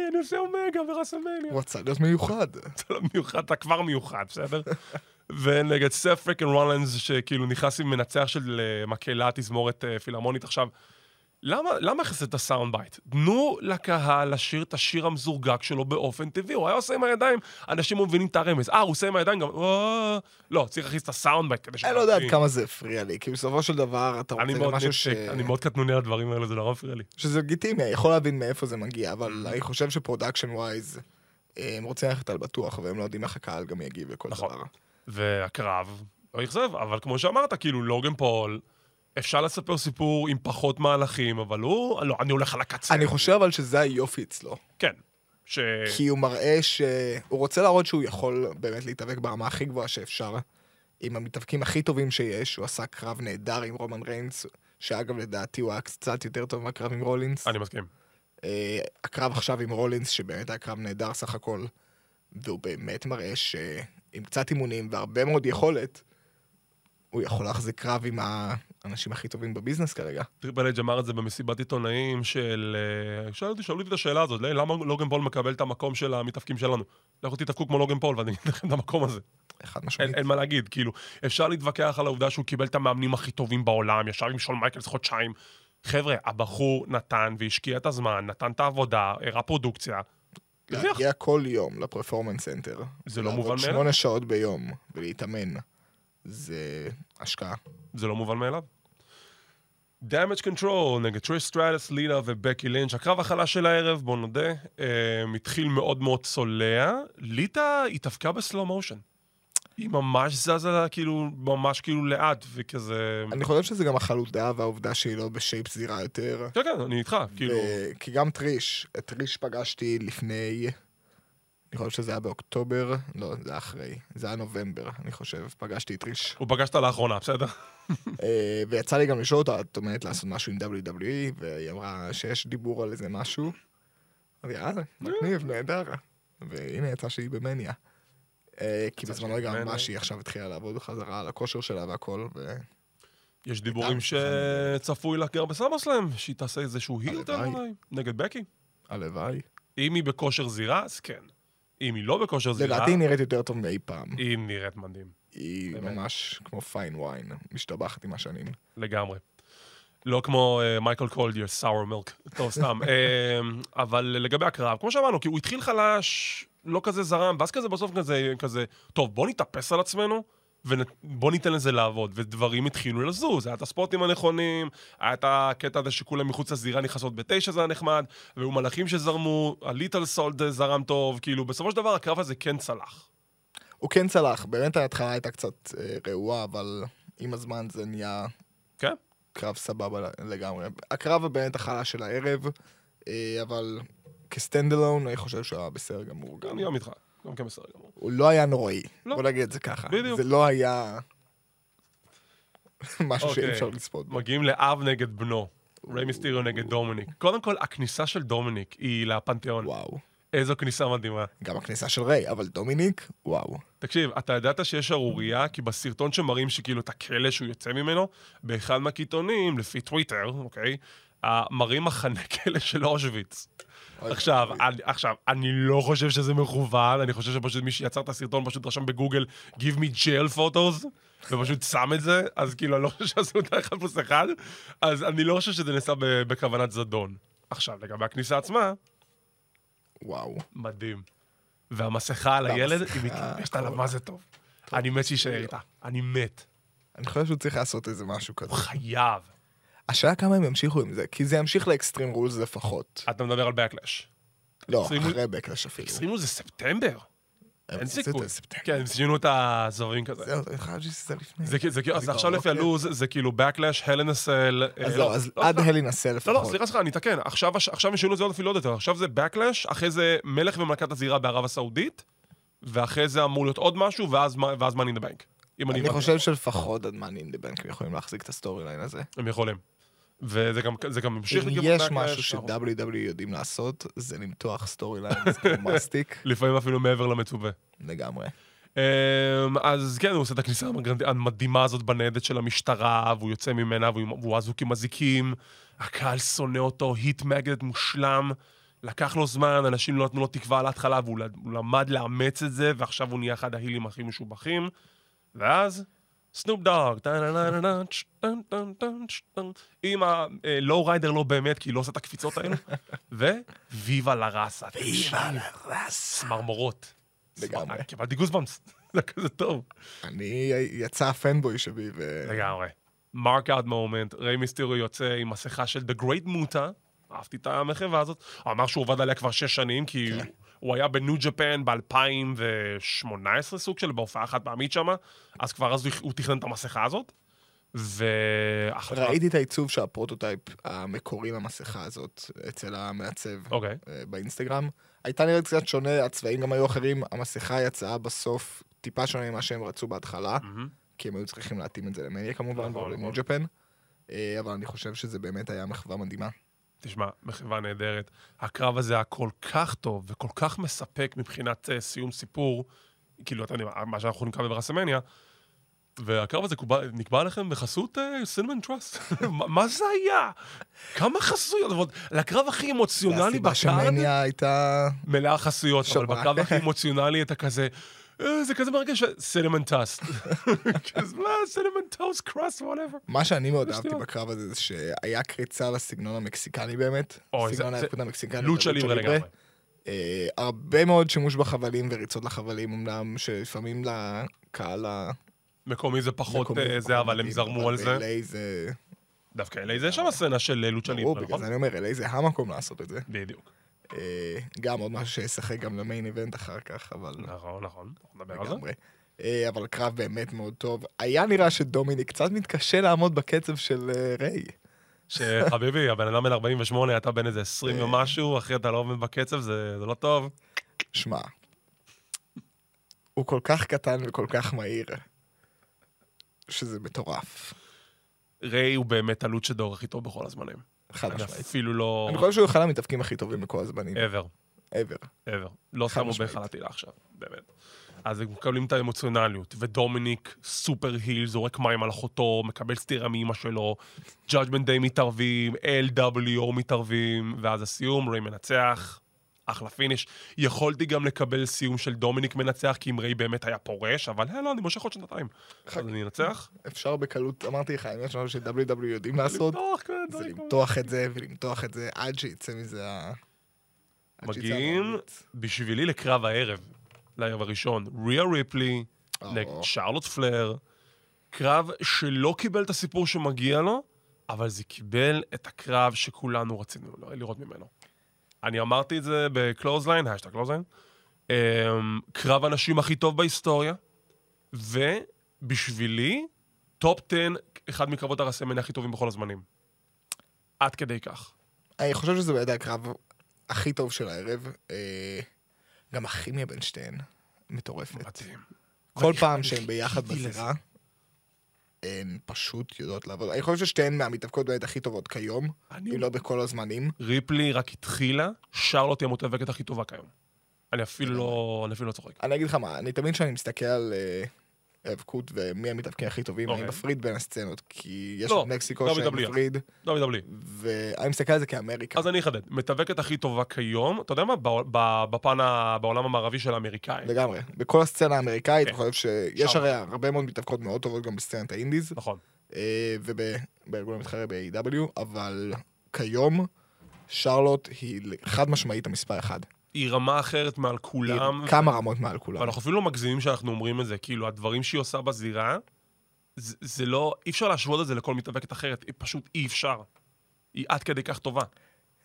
Speaker 3: אני עושה אומגה ורסלמניה.
Speaker 4: הוא רצה להיות מיוחד.
Speaker 3: אתה לא מיוחד, אתה כבר מיוחד, בסדר? ונגד סף פריקן רולנס, שכאילו נכנס עם מנצח של אה, מקהלה, תזמורת אה, פילהרמונית עכשיו. למה, למה הכנסת את הסאונד בייט? תנו לקהל לשיר את השיר המזורגק שלו באופן טבעי. הוא היה עושה עם הידיים, אנשים לא מבינים את הרמז. אה, הוא עושה עם הידיים גם... "אה". לא, צריך להכניס את הסאונד בייט כדי ש...
Speaker 4: אני לא יודע עד כמה זה הפריע לי, כי בסופו של דבר אתה
Speaker 3: אוקיי. אני
Speaker 4: רוצה גם
Speaker 3: מאוד
Speaker 4: משהו ש...
Speaker 3: נפשק, אני מאוד קטנוני על הדברים האלה, זה נורא מפריע לי.
Speaker 4: שזה לגיטימי, אני יכול להבין מאיפה זה מגיע, אבל אני חושב שפרודקשן ווייז, הם רוצים ללכת על בטוח, והם לא יודעים איך הקהל גם יגיב לכל
Speaker 3: נכון.
Speaker 4: דבר.
Speaker 3: והקרב לא אכזב, אבל כמו שאמרת, כאילו, לוגן פול, אפשר לספר סיפור עם פחות מהלכים, אבל הוא, לא, אני הולך על הקצה.
Speaker 4: אני חושב אבל שזה היופי אצלו,
Speaker 3: כן. ש...
Speaker 4: כי הוא מראה שהוא רוצה להראות שהוא יכול באמת להתאבק ברמה הכי גבוהה שאפשר, עם המתאבקים הכי טובים שיש, הוא עשה קרב נהדר עם רומן ריינס, שאגב לדעתי הוא היה קצת יותר טוב מהקרב עם רולינס.
Speaker 3: אני מסכים.
Speaker 4: אה, הקרב עכשיו עם רולינס, שבאמת היה קרב נהדר סך הכל, והוא באמת מראה שעם קצת אימונים והרבה מאוד יכולת, הוא יכול להחזיק קרב עם האנשים הכי טובים בביזנס כרגע.
Speaker 3: טריפל אג' אמר את זה במסיבת עיתונאים של... אה, שאלו אותי, שאלו אותי את השאלה הזאת, "לי, למה לוגן פול מקבל את המקום של המתאבקים שלנו? לכו תתאבקו כמו לוגן פול ואני אגיד לכם את המקום הזה.
Speaker 4: חד
Speaker 3: אין,
Speaker 4: משמעית.
Speaker 3: אין מה להגיד, כאילו, אפשר להתווכח על העובדה שהוא קיבל את המאמנים הכי טובים בעולם, ישב עם שון מייקלס חודשיים. חבר'ה, הבחור נתן והשקיע את הזמן, נתן את העבודה, הראה פרודוקציה. הרוויח.
Speaker 4: להגיע כל יום לפרפורמנס סנטר.
Speaker 3: זה לא
Speaker 4: לעבוד
Speaker 3: מובן מאליו.
Speaker 4: שמונה שעות ביום ולהתאמן, זה השקעה.
Speaker 3: זה לא מובן מאליו. Damage Control נגד טריש סטרטס, לילה ובקי לינץ'. הקרב החלש של הערב, בוא נודה, אמ, התחיל מאוד מאוד צולע. ליטה התאבקה בסלואו מושן. היא ממש זזה, כאילו, ממש כאילו לאט, וכזה...
Speaker 4: אני חושב שזה גם החלודה והעובדה שהיא לא בשייפ זירה יותר.
Speaker 3: כן, כן, אני איתך, כאילו...
Speaker 4: ו- כי גם טריש, את טריש פגשתי לפני, אני חושב שזה היה באוקטובר, לא, זה היה אחרי, זה היה נובמבר, אני חושב, פגשתי את טריש.
Speaker 3: הוא פגש אותה לאחרונה, בסדר?
Speaker 4: אה, ויצא לי גם לשאול אותה, את אומרת לעשות משהו עם WWE, והיא אמרה שיש דיבור על איזה משהו. אז יאללה,
Speaker 3: לא."
Speaker 4: מגניב, נהדר. והנה יצא שהיא במניה. אה, כי בזמנו היא גם
Speaker 3: שהיא
Speaker 4: אמרה
Speaker 3: במניה.
Speaker 4: שהיא עכשיו התחילה לעבוד חזרה על הכושר שלה והכל, והלוואי.
Speaker 3: יש דיבורים שצפוי לה כבר בסמאסלאם, שהיא תעשה איזשהו הילטר
Speaker 4: הלוואי.
Speaker 3: אולי, נגד בקי. אם היא בכושר זירה, אז כן. אם היא לא בכושר זירה,
Speaker 4: לדעתי היא נראית יותר טוב מאי פעם.
Speaker 3: היא נראית מדהים.
Speaker 4: היא
Speaker 3: באמת.
Speaker 4: ממש כמו פיין ויין, משתבחת עם השנים.
Speaker 3: לגמרי. לא כמו אה, מייקל קולד, your sour milk. טוב, סתם. אה, אבל לגבי הקרב, כמו שאמרנו, כי הוא התחיל חלש, לא כזה זרם, ואז כזה בסוף כזה, כזה, טוב, בוא נתאפס על עצמנו, ובוא ניתן לזה לעבוד. ודברים התחילו לזוז, היה את הספורטים הנכונים, היה את הקטע הזה שכולם מחוץ לזירה נכנסות בתשע, זה היה נחמד, והיו מלאכים שזרמו, הליטל סולד זרם טוב, כאילו, בסופו של דבר הקרב הזה כן צלח.
Speaker 4: הוא כן צלח, באמת ההתחלה הייתה קצת אה, רעועה, אבל עם הזמן זה נהיה
Speaker 3: כן?
Speaker 4: קרב סבבה לגמרי. הקרב הבאמת החלש של הערב, אה, אבל כסטנד אלון, אני חושב שהוא היה בסדר גמור גם.
Speaker 3: אני גם איתך, גם כן בסדר גמור.
Speaker 4: הוא לא היה נוראי,
Speaker 3: לא.
Speaker 4: בוא נגיד את זה ככה.
Speaker 3: בדיוק.
Speaker 4: זה לא היה משהו שאי
Speaker 3: אוקיי.
Speaker 4: אפשר לצפות בו.
Speaker 3: מגיעים לאב נגד בנו, ריי מיסטריו נגד דומיניק. קודם כל, הכניסה של דומיניק היא לפנתיאון.
Speaker 4: וואו.
Speaker 3: איזו כניסה מדהימה.
Speaker 4: גם הכניסה של ריי, אבל דומיניק, וואו.
Speaker 3: תקשיב, אתה ידעת שיש שערורייה, כי בסרטון שמראים שכאילו את הכלא שהוא יוצא ממנו, באחד מהקיטונים, לפי טוויטר, אוקיי, אה, מראים מחנה כלא של אושוויץ.
Speaker 4: אוי,
Speaker 3: עכשיו, אני- עכשיו, אני לא חושב שזה מכוון, אני חושב שפשוט מי שיצר את הסרטון פשוט רשם בגוגל Give me jail photos, ופשוט שם את זה, אז כאילו, אני לא חושב שעשו את האחד פלוס אחד, אז אני לא חושב שזה נעשה ב- בכוונת זדון. עכשיו, לגבי הכניסה עצמה,
Speaker 4: וואו.
Speaker 3: מדהים. והמסכה על הילד, היא
Speaker 4: והמסכה,
Speaker 3: מתלבשת עליו, מה זה טוב. אני מת שיישאר איתה. אני מת.
Speaker 4: אני חושב שהוא צריך לעשות איזה משהו כזה.
Speaker 3: הוא חייב.
Speaker 4: השאלה כמה הם ימשיכו עם זה, כי זה ימשיך לאקסטרים רולס לפחות.
Speaker 3: אתה מדבר על Backlash.
Speaker 4: לא,
Speaker 3: עשרים-
Speaker 4: אחרי בקלש אפילו.
Speaker 3: עשרים זה ספטמבר.
Speaker 4: הם
Speaker 3: אין
Speaker 4: עשו את זה
Speaker 3: סיכוי.
Speaker 4: בספטמבר.
Speaker 3: כן, הם שינו את הזורים כזה.
Speaker 4: אה, זהו, אני חייב שזה לפני.
Speaker 3: זה כאילו- זה כאילו- אז
Speaker 4: כבר
Speaker 3: עכשיו
Speaker 4: לא
Speaker 3: לפי
Speaker 4: עוקב.
Speaker 3: הלו"ז, זה כאילו Backlash, Hell in a Cell.
Speaker 4: אז
Speaker 3: אה,
Speaker 4: לא, אז
Speaker 3: לא,
Speaker 4: עד נכון.
Speaker 3: לא.
Speaker 4: הלי ננסה לפחות.
Speaker 3: לא, לא, סליחה, סליחה, אני אתקן. עכשיו הש- עכשיו הם שינו את זה עוד אפילו עוד יותר. עכשיו זה Backlash, אחרי זה מלך ומלכת הזירה בערב הסעודית, ואחרי זה אמור להיות עוד משהו, ואז מה- ואז money in the bank. אם
Speaker 4: אני
Speaker 3: הבנתי.
Speaker 4: חושב שלפחות עד מאני אין דה בנק הם יכולים להחזיק את הסטורי ליין הזה.
Speaker 3: הם יכולים. וזה גם, זה גם המשיך
Speaker 4: אם
Speaker 3: לכיוון
Speaker 4: יש
Speaker 3: Backlash,
Speaker 4: משהו
Speaker 3: אנחנו-
Speaker 4: ש-WW E יודעים לעשות, זה למתוח סטורי ליין כמו מסטיק
Speaker 3: לפעמים אפילו מעבר למצווה.
Speaker 4: לגמרי.
Speaker 3: אמ, אז כן, הוא עושה את הכניסה המגרנד- המדהימה הזאת בניידת של המשטרה, והוא יוצא ממנה, והוא והוא אזוק עם אזיקים, הקהל שונא אותו, היט מגנט מושלם. לקח לו זמן, אנשים לא נתנו לו תקווה על ההתחלה, והוא ל- הוא למד לאמץ את זה, ועכשיו הוא נהיה אחד ההילים הכי משובחים. ואז, סנופ דאג, טה-נה-נה-נה-נה, צ', טן, טן, טן, צ', טן. עם הלואו ריידר לא באמת, כי היא לא עושה את הקפיצות האלו. וויבה לראסה. ויבה צמרמורות.
Speaker 4: לגמרי.
Speaker 3: קיבלתי גוזבאמס, זה כזה טוב.
Speaker 4: אני, יצא הפנבוי שבי, ו-
Speaker 3: לגמרי. מרק אאוט מומנט, ריי מיסטריו יוצא עם מסכה של The Great Muta, אהבתי את המחווה הזאת, הוא אמר שהוא עובד עליה כבר שש שנים, כי
Speaker 4: כן.
Speaker 3: הוא- הוא היה בניו ג'פן ב-2018 סוג של, בהופעה חד פעמית שמה, אז כבר אז הוא- הוא תכנן את המסכה הזאת, ואחלה.
Speaker 4: ראיתי את העיצוב של הפרוטוטייפ המקורי למסכה הזאת אצל המעצב
Speaker 3: אוקיי.
Speaker 4: אה, באינסטגרם. הייתה נראית קצת שונה, הצבעים גם היו אחרים, המסכה יצאה בסוף טיפה שונה ממה שהם רצו בהתחלה,
Speaker 3: מהמם.
Speaker 4: כי הם היו צריכים להתאים את זה למניה כמובן,
Speaker 3: נכון,
Speaker 4: ולניו
Speaker 3: נכון.
Speaker 4: ג'פן. אה, אבל אני חושב שזה באמת היה מחווה מדהימה.
Speaker 3: תשמע, מחווה נהדרת. הקרב הזה היה כל כך טוב וכל כך מספק מבחינת uh, סיום סיפור, כאילו, אתה יודע, מה שאנחנו נקרא בברסמניה, והקרב הזה קובע, נקבע לכם בחסות אה, סינמן טראסט. מה זה היה? כמה חסויות? ועוד לקרב הכי אמוציונלי
Speaker 4: והסיבה
Speaker 3: בקארד,
Speaker 4: שמניה הייתה...
Speaker 3: מלאה חסויות, אבל
Speaker 4: שומעת.
Speaker 3: בקרב הכי אמוציונלי אתה כזה... "אה, זה כזה מרגש, סינמן טאסט. כזה, מה, סינמן טאסט, קראסט, וואטאבר.
Speaker 4: מה שאני מאוד אהבתי
Speaker 3: שטויות.
Speaker 4: בקרב הזה, זה שהיה קריצה לסגנון המקסיקני באמת.
Speaker 3: אוי, זה-
Speaker 4: סגנון
Speaker 3: זה-
Speaker 4: האליפות המקסיקני.
Speaker 3: לוצ'ה
Speaker 4: והלוצ'ה
Speaker 3: ליברה
Speaker 4: ליברה.
Speaker 3: לגמרי.
Speaker 4: אה, הרבה מאוד שימוש בחבלים וריצות לחבלים, אמנם שלפעמים לקהל ה...
Speaker 3: מקומי זה פחות
Speaker 4: מקומי
Speaker 3: אה,
Speaker 4: פחות
Speaker 3: זה, אבל הם
Speaker 4: מתאים,
Speaker 3: זרמו
Speaker 4: אבל
Speaker 3: על זה.
Speaker 4: ב-LA זה...
Speaker 3: דווקא אלי זה שם הסצנה של אה, לוצ'ה
Speaker 4: ברור,
Speaker 3: ליברה,
Speaker 4: בגלל
Speaker 3: נכון?
Speaker 4: זה אני אומר, LA זה המקום לעשות את זה.
Speaker 3: בדיוק.
Speaker 4: אה, גם עוד משהו שישחק גם למיין איבנט אחר כך, אבל...
Speaker 3: נכון, נכון. אנחנו נדבר על זה.
Speaker 4: לגמרי. אה, אבל קרב באמת מאוד טוב. היה נראה שדומיניק קצת מתקשה לעמוד בקצב של אה, ריי.
Speaker 3: שחביבי, הבן אדם בן 48, אתה בן איזה
Speaker 4: אה.
Speaker 3: 20 ומשהו, אחי, אתה לא עומד בקצב, זה זה לא טוב.
Speaker 4: שמע, הוא כל כך קטן וכל כך מהיר, שזה מטורף.
Speaker 3: ריי הוא באמת הלוצ'דור הכי טוב בכל הזמנים.
Speaker 4: חד
Speaker 3: אני
Speaker 4: משמעית.
Speaker 3: אפילו לא...
Speaker 4: אני חושב שהוא אחד המתאבקים הכי טובים בכל הזמנים,
Speaker 3: ever,
Speaker 4: ever.
Speaker 3: ever. לא
Speaker 4: חד
Speaker 3: שמו
Speaker 4: משמעית.
Speaker 3: בהיכל התהילה עכשיו, באמת. אז הם מקבלים את האמוציונליות, ודומיניק סופר היל, זורק מים על אחותו, מקבל סטירה מאימא שלו, Judgment Day מתערבים, LWO מתערבים, ואז הסיום, ריי מנצח, אחלה פיניש. יכולתי גם לקבל סיום של דומיניק מנצח, כי אם ריי באמת היה פורש, אבל אה, לא, אני מושך עוד שנתיים. אז אני אנצח.
Speaker 4: אפשר בקלות, אמרתי לך, אם יש משהו ש-WW יודעים לעשות,
Speaker 3: למתוח, כן,
Speaker 4: זה
Speaker 3: די, כבר.
Speaker 4: למתוח את זה ולמתוח את זה עד שיצא מזה ה... עד שיצא
Speaker 3: מגיעים
Speaker 4: המעריץ.
Speaker 3: בשבילי לקרב הערב, לערב הראשון. ריה ריפלי נגד שרלוט פלר, קרב שלא קיבל את הסיפור שמגיע לו, אבל זה קיבל את הקרב שכולנו רצינו ל- לראות ממנו. אני אמרתי את זה בקלוזליין, השטג קלוזליין, אמ, קרב הנשים הכי טוב בהיסטוריה, ובשבילי, טופ 10, אחד מקרבות הרסמניה הכי טובים בכל הזמנים. עד כדי כך.
Speaker 4: אני חושב שזה בידי הקרב הכי טוב של הערב. אה, גם הכימיה בין שתיהן מטורפת.
Speaker 3: מדהים.
Speaker 4: כן. כל
Speaker 3: ואני-
Speaker 4: פעם
Speaker 3: אני
Speaker 4: שהן ביחד
Speaker 3: חיכיתי לזה.
Speaker 4: בזירה, הן פשוט יודעות לעבוד. אני חושב ששתיהן מהמתאבקות באמת הכי טובות כיום,
Speaker 3: אני-
Speaker 4: אם לא בכל הזמנים.
Speaker 3: ריפלי רק התחילה, שרלוט היא המתאבקת הכי טובה כיום. אני אפילו לא, אני אפילו לא צוחק.
Speaker 4: אני אגיד לך מה, אני תמיד כשאני מסתכל על אה, האבקות ומי המתאבקים הכי טובים, אני
Speaker 3: אוקיי.
Speaker 4: מפריד בין הסצנות, כי יש
Speaker 3: לא,
Speaker 4: את מקסיקו
Speaker 3: לא
Speaker 4: שאני
Speaker 3: מתאבלים.
Speaker 4: מפריד,
Speaker 3: WWE.
Speaker 4: ואני מסתכל על זה כאמריקה.
Speaker 3: אז אני אחדד. מתאבקת הכי טובה כיום, אתה יודע מה? בעול- ב- בפן, ה- בעולם המערבי של האמריקאים.
Speaker 4: לגמרי. בכל הסצנה האמריקאית,
Speaker 3: כן.
Speaker 4: אני חושב שיש
Speaker 3: שם.
Speaker 4: הרי הרבה מאוד מתאבקות מאוד טובות גם בסצנת האינדיז,
Speaker 3: נכון.
Speaker 4: אה, ובארגון המתחרה ב-AW, אבל כיום שרלוט היא חד משמעית המספר אחד.
Speaker 3: היא רמה אחרת מעל
Speaker 4: היא
Speaker 3: כולם,
Speaker 4: כמה רמות מעל כולם.
Speaker 3: ואנחנו אפילו לא מגזימים שאנחנו אומרים את זה. כאילו, הדברים שהיא עושה בזירה, זה, זה לא... אי אפשר להשוות את זה לכל מתאבקת אחרת, היא פשוט אי אפשר. היא עד כדי כך טובה.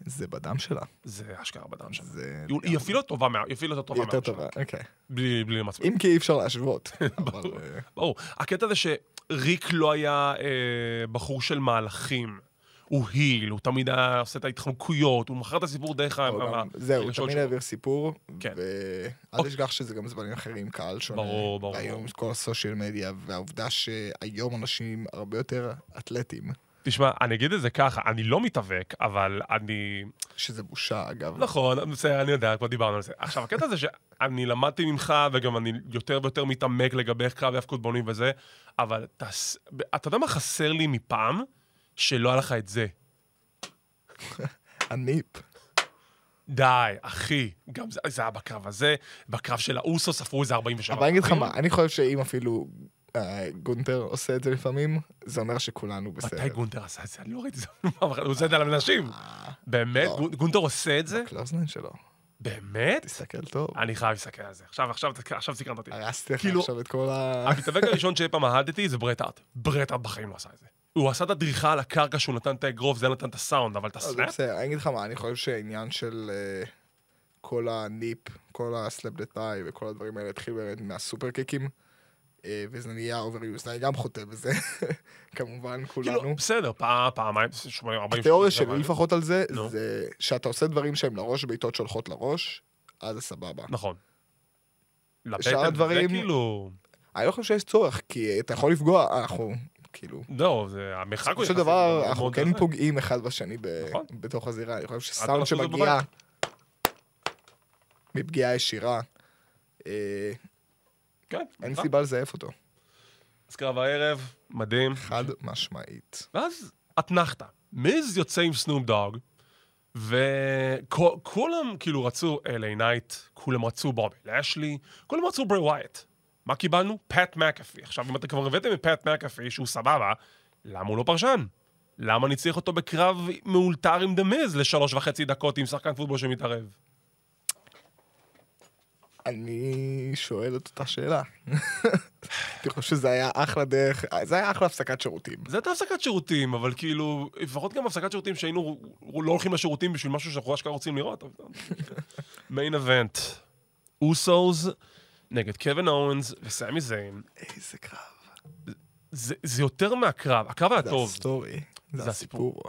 Speaker 4: זה בדם שלה.
Speaker 3: זה אשכרה בדם שלה.
Speaker 4: זה
Speaker 3: היא- היא אפילו לא טובה מה... היא אפילו יותר טובה
Speaker 4: היא יותר
Speaker 3: מהאבא שלה.
Speaker 4: טובה, אוקיי.
Speaker 3: בלי בלי למצמץ.
Speaker 4: אם כי אי אפשר להשוות. אבל, אה,
Speaker 3: ברור. הקטע זה שריק לא היה אה, בחור של מהלכים. הוא היל, הוא תמיד היה עושה את ההתחמקויות, הוא מכר את הסיפור דרך ה...
Speaker 4: אבל
Speaker 3: ה-
Speaker 4: גם- זהו, הוא
Speaker 3: הרגשות
Speaker 4: תמיד
Speaker 3: שלו.
Speaker 4: העביר סיפור,
Speaker 3: כן.
Speaker 4: ואל
Speaker 3: אוקיי.
Speaker 4: תשכח שזה גם זמנים אחרים, קהל שונה.
Speaker 3: ברור, ברור.
Speaker 4: היום כל הסושיאל מדיה, והעובדה שהיום אנשים הרבה יותר אתלטים,
Speaker 3: תשמע, אני אגיד את זה ככה, אני לא מתאבק, אבל אני...
Speaker 4: שזה בושה אגב.
Speaker 3: נכון, בסדר, אני יודע, כבר דיברנו על זה. עכשיו, הקטע זה שאני למדתי ממך, וגם אני יותר ויותר מתעמק לגבי איך קרב ההפקות בונים וזה, אבל תס... אתה יודע מה חסר לי מפעם? שלא היה לך את זה.
Speaker 4: הניפ.
Speaker 3: די, אחי. גם זה, זה היה בקרב הזה, בקרב של האוסו ספרו איזה 47.
Speaker 4: אבל אני אגיד לך
Speaker 3: קרבים.
Speaker 4: מה, אני חושב שאם אפילו אה, גונטר עושה את זה לפעמים, זה אומר שכולנו בסדר.
Speaker 3: מתי גונטר עשה את זה? אני לא ראיתי את זה פעם אחת, הוא עושה את זה על אנשים. באמת?
Speaker 4: לא.
Speaker 3: גונ- גונטר עושה את זה?
Speaker 4: הקלוזליין שלו,
Speaker 3: באמת?
Speaker 4: תסתכל אה. טוב.
Speaker 3: אני חייב להסתכל על זה. עכשיו, עכשיו, עכשיו סיקרנת אותי.
Speaker 4: הרסתי לך
Speaker 3: כאילו-
Speaker 4: עכשיו את כל ה...
Speaker 3: המתאבק הראשון שאי פעם אהדתי זה ברטארט. ברטארט בחיים לא עשה את זה. הוא עשה את הדריכה על הקרקע שהוא נתן את האגרוף, זה נתן את הסאונד, אבל את
Speaker 4: אז אה, לא, זה
Speaker 3: הסלאפ?
Speaker 4: בסדר, אני אגיד לך מה, אני חושב שהעניין של אה, כל הניפ, כל הסלאפ דה טאי וכל הדברים האלה התחיל באמת מהסופר קיקים, אה, וזה נהיה אובריוס, אני גם חוטא בזה, כמובן,
Speaker 3: כאילו,
Speaker 4: כולנו.
Speaker 3: בסדר, פעם, פעמיים, שמונה, ארבעים...
Speaker 4: התיאוריה
Speaker 3: שלושים,
Speaker 4: שלי
Speaker 3: אבל-
Speaker 4: לפחות על זה,
Speaker 3: נו.
Speaker 4: זה שאתה עושה דברים שהם לראש, בעיטות שהולכות לראש, אז זה סבבה.
Speaker 3: נכון.
Speaker 4: שאר
Speaker 3: לבטן, זה
Speaker 4: הדברים-
Speaker 3: כאילו...
Speaker 4: אני לא חושב שיש צורך, כי אתה יכול לפגוע, אנחנו, כאילו...
Speaker 3: לא, זה המרחק הוא
Speaker 4: בסופו של
Speaker 3: יחסית
Speaker 4: דבר,
Speaker 3: מאוד
Speaker 4: אנחנו
Speaker 3: מאוד
Speaker 4: כן
Speaker 3: הזה.
Speaker 4: פוגעים אחד בשני ב-
Speaker 3: נכון. לא
Speaker 4: בתוך הזירה. אני חושב
Speaker 3: אל
Speaker 4: שסאונד
Speaker 3: תעשו את זה
Speaker 4: שמגיע מפגיעה ישירה, אה,
Speaker 3: כן,
Speaker 4: אין
Speaker 3: נכון.
Speaker 4: סיבה לזייף אותו.
Speaker 3: אז קרב הערב, מדהים.
Speaker 4: חד משמעית.
Speaker 3: ואז אתנחתא. מיז יוצא עם סנום דוג, וכולם כאילו רצו אליי נייט, כולם רצו בובי לאשלי, כולם רצו ברי ווייט. מה קיבלנו? פאט מקאפי. עכשיו, אם אתם כבר הבאתם את פאט מקאפי, שהוא סבבה, למה הוא לא פרשן? למה אני צריך אותו בקרב מאולתר עם דה מיז לשלוש וחצי דקות עם שחקן פוטבול שמתערב?
Speaker 4: אני שואל את אותה שאלה. אני חושב שזה היה אחלה דרך, זה היה אחלה הפסקת שירותים.
Speaker 3: זה הייתה הפסקת שירותים, אבל כאילו, לפחות גם הפסקת שירותים שהיינו לא הולכים לשירותים בשביל משהו שאנחנו אשכרה רוצים לראות. לא מיין אבנט, אוסוס נגד קווין אורנס וסמי זיין.
Speaker 4: איזה קרב.
Speaker 3: זה זה יותר מהקרב, הקרב היה
Speaker 4: זה
Speaker 3: טוב.
Speaker 4: הסטורי.
Speaker 3: זה
Speaker 4: זה הסיפור.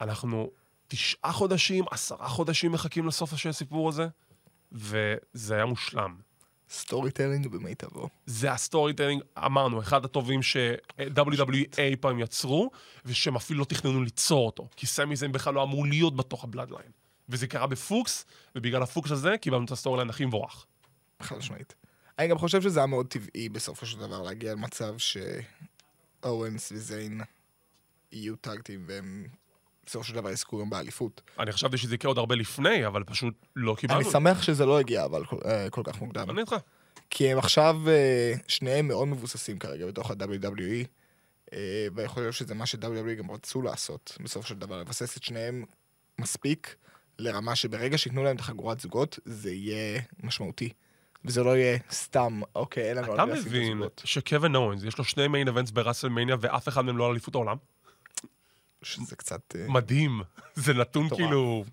Speaker 3: אנחנו תשעה חודשים, עשרה חודשים מחכים לסוף של הסיפור הזה, וזה היה מושלם.
Speaker 4: סטורי טלינג במיטבו.
Speaker 3: זה הסטורי טיילינג, אמרנו, אחד הטובים ש-WWE אי פעם יצרו, ושהם אפילו לא תכננו ליצור אותו, כי סמי זיין בכלל לא אמור להיות בתוך הבלאדליין. וזה קרה בפוקס, ובגלל הפוקס הזה קיבלנו את הסטורי ליין הכי מבורך.
Speaker 4: חד משמעית. אני גם חושב שזה היה מאוד טבעי בסופו של דבר להגיע למצב שאורנס וזיין יהיו טאגטים והם בסופו של דבר יזכו גם באליפות.
Speaker 3: אני חשבתי שזה יקרה עוד הרבה לפני, אבל פשוט לא קיבלנו.
Speaker 4: אני שמח שזה לא הגיע אבל כל- אה, כל כך מוקדם.
Speaker 3: אני איתך.
Speaker 4: כי הם עכשיו, אה, שניהם מאוד מבוססים כרגע בתוך ה-WWE, אה, ואני חושב שזה מה ש-WWE גם רצו לעשות בסופו של דבר, לבסס את שניהם מספיק לרמה שברגע שייתנו להם את החגורת זוגות, זה יהיה משמעותי. וזה לא יהיה סתם, אוקיי, אין לנו
Speaker 3: אתה
Speaker 4: על מי לשים את
Speaker 3: מבין
Speaker 4: הזוגות.
Speaker 3: שקווין אורנס, יש לו שני מיין אבנטס בראסלמניה ואף אחד מהם לא על אליפות העולם?
Speaker 4: שזה קצת... אה,
Speaker 3: מדהים. זה נתון
Speaker 4: מטורף.
Speaker 3: כאילו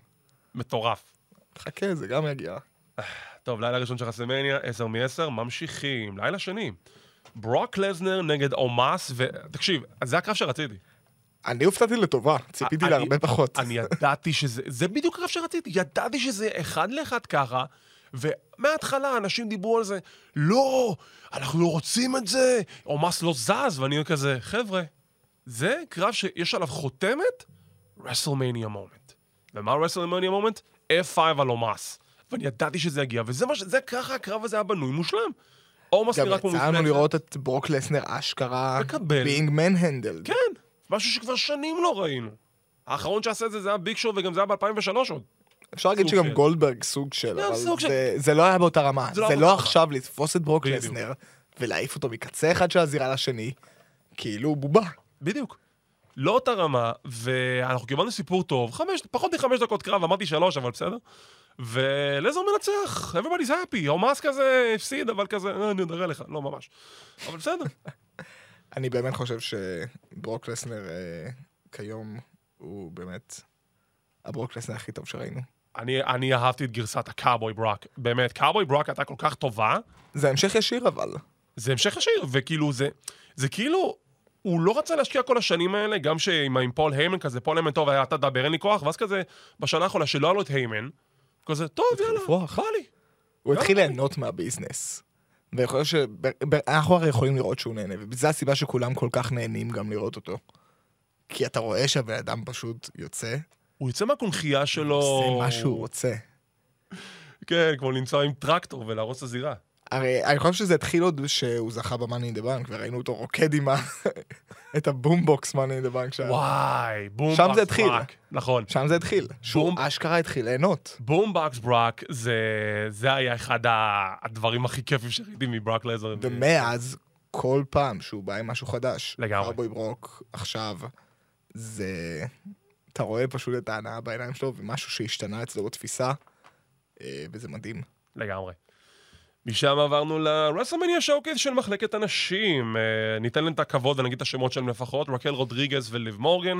Speaker 3: מטורף.
Speaker 4: חכה, זה גם יגיע.
Speaker 3: טוב, לילה ראשון של רסלמניה, 10 מ-10, ממשיכים. לילה שני, ברוק לזנר נגד אומאס, ו... תקשיב, זה הקרב שרציתי.
Speaker 4: אני הופתעתי לטובה, ציפיתי
Speaker 3: אני-
Speaker 4: להרבה פחות.
Speaker 3: אני ידעתי שזה, זה בדיוק הקרב שרציתי, ידעתי שזה אחד לאחד ככה, ומההתחלה אנשים דיברו על זה, לא, אנחנו לא רוצים את זה, עומס לא זז, ואני כזה, חבר'ה, זה קרב שיש עליו חותמת, רסלמניה מומנט. ומה רסלמניה מומנט? F5 על עומס. ואני ידעתי שזה יגיע, וזה מה ש... זה ככה הקרב הזה היה בנוי מושלם. עומס
Speaker 4: גם
Speaker 3: נראה כמו
Speaker 4: יצא לנו לראות את ברוק לסנר אשכרה...
Speaker 3: מקבל.
Speaker 4: being manhandled.
Speaker 3: כן, משהו שכבר שנים לא ראינו. האחרון שעשה את זה זה היה ביג שואו, וגם זה היה ב-2003 עוד.
Speaker 4: אפשר להגיד
Speaker 3: סוג
Speaker 4: שגם
Speaker 3: של.
Speaker 4: גולדברג סוג של,
Speaker 3: גם
Speaker 4: אבל
Speaker 3: סוג של.
Speaker 4: זה- זה לא היה באותה רמה.
Speaker 3: זה לא
Speaker 4: זה
Speaker 3: היה
Speaker 4: לא
Speaker 3: באותה רמה.
Speaker 4: עכשיו לתפוס את ברוק
Speaker 3: בדיוק.
Speaker 4: לסנר ולהעיף אותו מקצה אחד של הזירה לשני, כאילו בובה.
Speaker 3: בדיוק. לא אותה רמה, ואנחנו קיבלנו סיפור טוב, חמש, פחות מחמש דקות קרב, אמרתי שלוש, אבל בסדר. ולזר מנצח, everybody's happy, עומס כזה הפסיד, אבל כזה, "אה, אני עוד אראה לך, לא ממש. אבל בסדר.
Speaker 4: אני באמת חושב שברוק לסנר אה, כיום הוא באמת הברוק לסנר הכי טוב שראינו.
Speaker 3: אני, אני אהבתי את גרסת הקארבוי ברוק, באמת, קארבוי ברוק הייתה כל כך טובה,
Speaker 4: זה המשך ישיר אבל.
Speaker 3: זה המשך השיר, וכאילו זה, זה כאילו, הוא לא רצה להשקיע כל השנים האלה, גם שעם עם פול היימן כזה, פול היימן טוב, היה אתה דבר, אין לי כוח, ואז כזה, בשנה האחרונה שלא היה לו את היימן, כזה, טוב, יאללה,
Speaker 4: לפרוח.
Speaker 3: בא לי.
Speaker 4: הוא
Speaker 3: לא,
Speaker 4: התחיל ליהנות מהביזנס. ואני חושב שאנחנו הרי יכולים לראות שהוא נהנה, וזו הסיבה שכולם כל כך נהנים גם לראות אותו. כי אתה רואה שהבן אדם פשוט יוצא,
Speaker 3: הוא יוצא מהקונכייה שלו...
Speaker 4: עושה מה שהוא רוצה.
Speaker 3: כן, כמו לנסוע עם טרקטור ולהרוס את הזירה.
Speaker 4: כן. הרי אני חושב שזה התחיל עוד שהוא זכה במאני אין דה בנק, וראינו אותו רוקד עם ה... את הבומבוקס מאני אין דה בנק שהיה.
Speaker 3: וואי, בום
Speaker 4: שם
Speaker 3: בקס
Speaker 4: זה התחיל.
Speaker 3: ברק. נכון.
Speaker 4: שם זה התחיל. שהוא
Speaker 3: בום.
Speaker 4: אשכרה התחיל ליהנות.
Speaker 3: בום בקס ברק, זה, זה היה אחד ה- הדברים הכי כיפים שראיתי מברק לזר.
Speaker 4: ומאז, כל פעם שהוא בא עם משהו חדש,
Speaker 3: לגמרי.
Speaker 4: קארבוי ברוק עכשיו, זה... אתה רואה פשוט את ההנאה בעיניים שלו, ומשהו שהשתנה אצלו בתפיסה, אה, וזה מדהים.
Speaker 3: לגמרי. משם עברנו לרסלמניה שואוקייס של מחלקת הנשים. אה, ניתן להם את הכבוד ונגיד את השמות שלהם לפחות, רקל רודריגז וליב מורגן.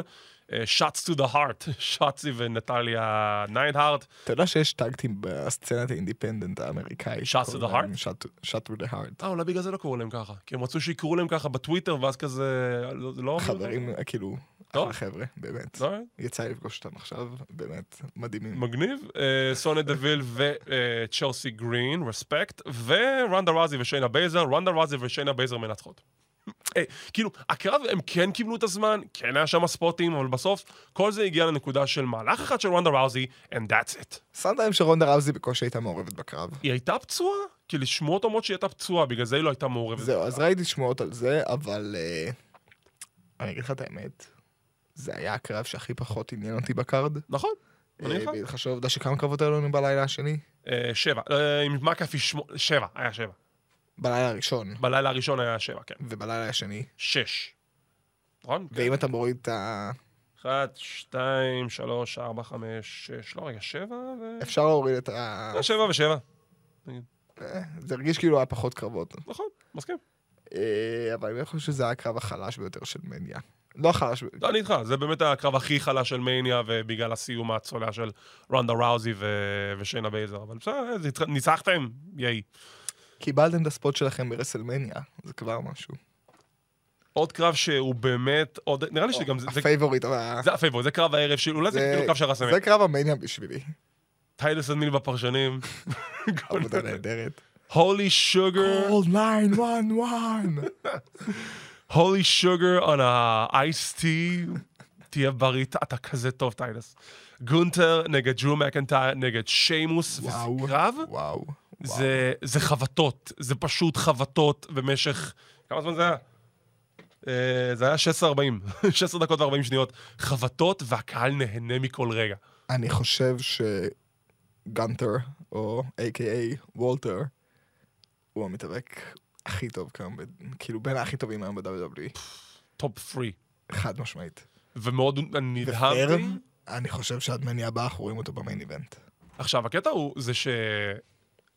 Speaker 3: אה, Shots to the heart, שצי ונטליה ניידהארט.
Speaker 4: אתה יודע שיש טאגטים בסצנת האינדיפנדנט האמריקאית.
Speaker 3: Shot to
Speaker 4: קוראים
Speaker 3: the
Speaker 4: להם shot- shot to the heart.
Speaker 3: אה, אולי בגלל זה לא קראו להם ככה. כי הם רצו שיקראו להם ככה בטוויטר, ואז כזה... לא- לא...
Speaker 4: חברים, כאילו,
Speaker 3: טוב.
Speaker 4: אחלה חבר'ה, באמת.
Speaker 3: לא,
Speaker 4: יצא לי לפגוש אותם עכשיו, באמת, מדהימים.
Speaker 3: מגניב. אה, סוניה דוויל וצ'לסי אה, גרין, רספקט, ורנדה רזי ושיינה בייזר, רנדה רזי ושיינה בייזר מנצחות. אה, כאילו, הקרב, הם כן קיבלו את הזמן, כן היה שם ספוטים, אבל בסוף כל זה הגיע לנקודה של מהלך אחד של רונדה ראוזי, and that's it.
Speaker 4: סנדריים שרונדה ראוזי בקושי הייתה מעורבת בקרב.
Speaker 3: היא הייתה פצועה? כאילו, שמועות אומרות שהיא הייתה פצועה, בגלל זה היא לא הייתה מעורבת.
Speaker 4: זהו, אז ראיתי שמועות על זה, אבל אה, אני אגיד לך את האמת, זה היה הקרב שהכי פחות עניין אותי בקארד.
Speaker 3: נכון,
Speaker 4: אה,
Speaker 3: אני איתך.
Speaker 4: בהתחשב בעובדה שכמה קרבות היו לנו בלילה השני?
Speaker 3: אה, שבע, אה, עם מקאפי שמונה, שבע, היה שבע.
Speaker 4: בלילה הראשון,
Speaker 3: בלילה הראשון היה שבע, כן.
Speaker 4: ובלילה השני.
Speaker 3: שש. נכון?
Speaker 4: ואם אתה מוריד את ה...
Speaker 3: אחת, שתיים, שלוש, ארבע, חמש, שש, לא רגע, שבע ו...
Speaker 4: אפשר להוריד את ה...
Speaker 3: אה, שבע ושבע,
Speaker 4: זה הרגיש כאילו היה פחות קרבות.
Speaker 3: נכון, מסכים.
Speaker 4: אה, אבל אני חושב שזה היה הקרב החלש ביותר של מניה. לא החלש,
Speaker 3: לא, אני איתך, זה באמת הקרב הכי חלש של מניה, ובגלל הסיום הצולע של רונדה ראוזי ו... ושיינה בייזר, אבל בסדר, אה, זה התח- ניצחתם, ייי.
Speaker 4: קיבלתם את הספוט שלכם ברסלמניה, זה כבר משהו.
Speaker 3: עוד קרב שהוא באמת, עוד... נראה לי שגם זה... זה-
Speaker 4: הפייבוריט, אבל-
Speaker 3: זה הפייבוריט, זה קרב הערב של... אולי זה כאילו קרב של רסמי.
Speaker 4: אה, זה קרב המניה בשבילי.
Speaker 3: טיילס אדמיל בפרשנים.
Speaker 4: עבודה נהדרת.
Speaker 3: הולי שוגר.
Speaker 4: Call 911.
Speaker 3: holy sugar on a iced tea. תהיה בריא, אתה כזה טוב, טיילס. גונטר נגד ג'ו מקנטייר, נגד שיימוס, וזה
Speaker 4: וואו.
Speaker 3: קרב,
Speaker 4: וואו.
Speaker 3: זה, זה חבטות, זה פשוט חבטות במשך... כמה זמן זה היה? אה, זה היה 16.40, 16 דקות ו-40 שניות. חבטות, והקהל נהנה מכל רגע.
Speaker 4: אני חושב שגנטר, או A.K.A. וולטר, הוא המתאבק הכי טוב כיום, ב- כאילו בין הכי טובים היום ב-WWE,
Speaker 3: טופ פרי.
Speaker 4: חד משמעית.
Speaker 3: ומאוד
Speaker 4: ופר,
Speaker 3: נדהמתי. אה?
Speaker 4: אני חושב שעד מני הבא אנחנו רואים אותו במיין איבנט.
Speaker 3: עכשיו, הקטע הוא, זה ש...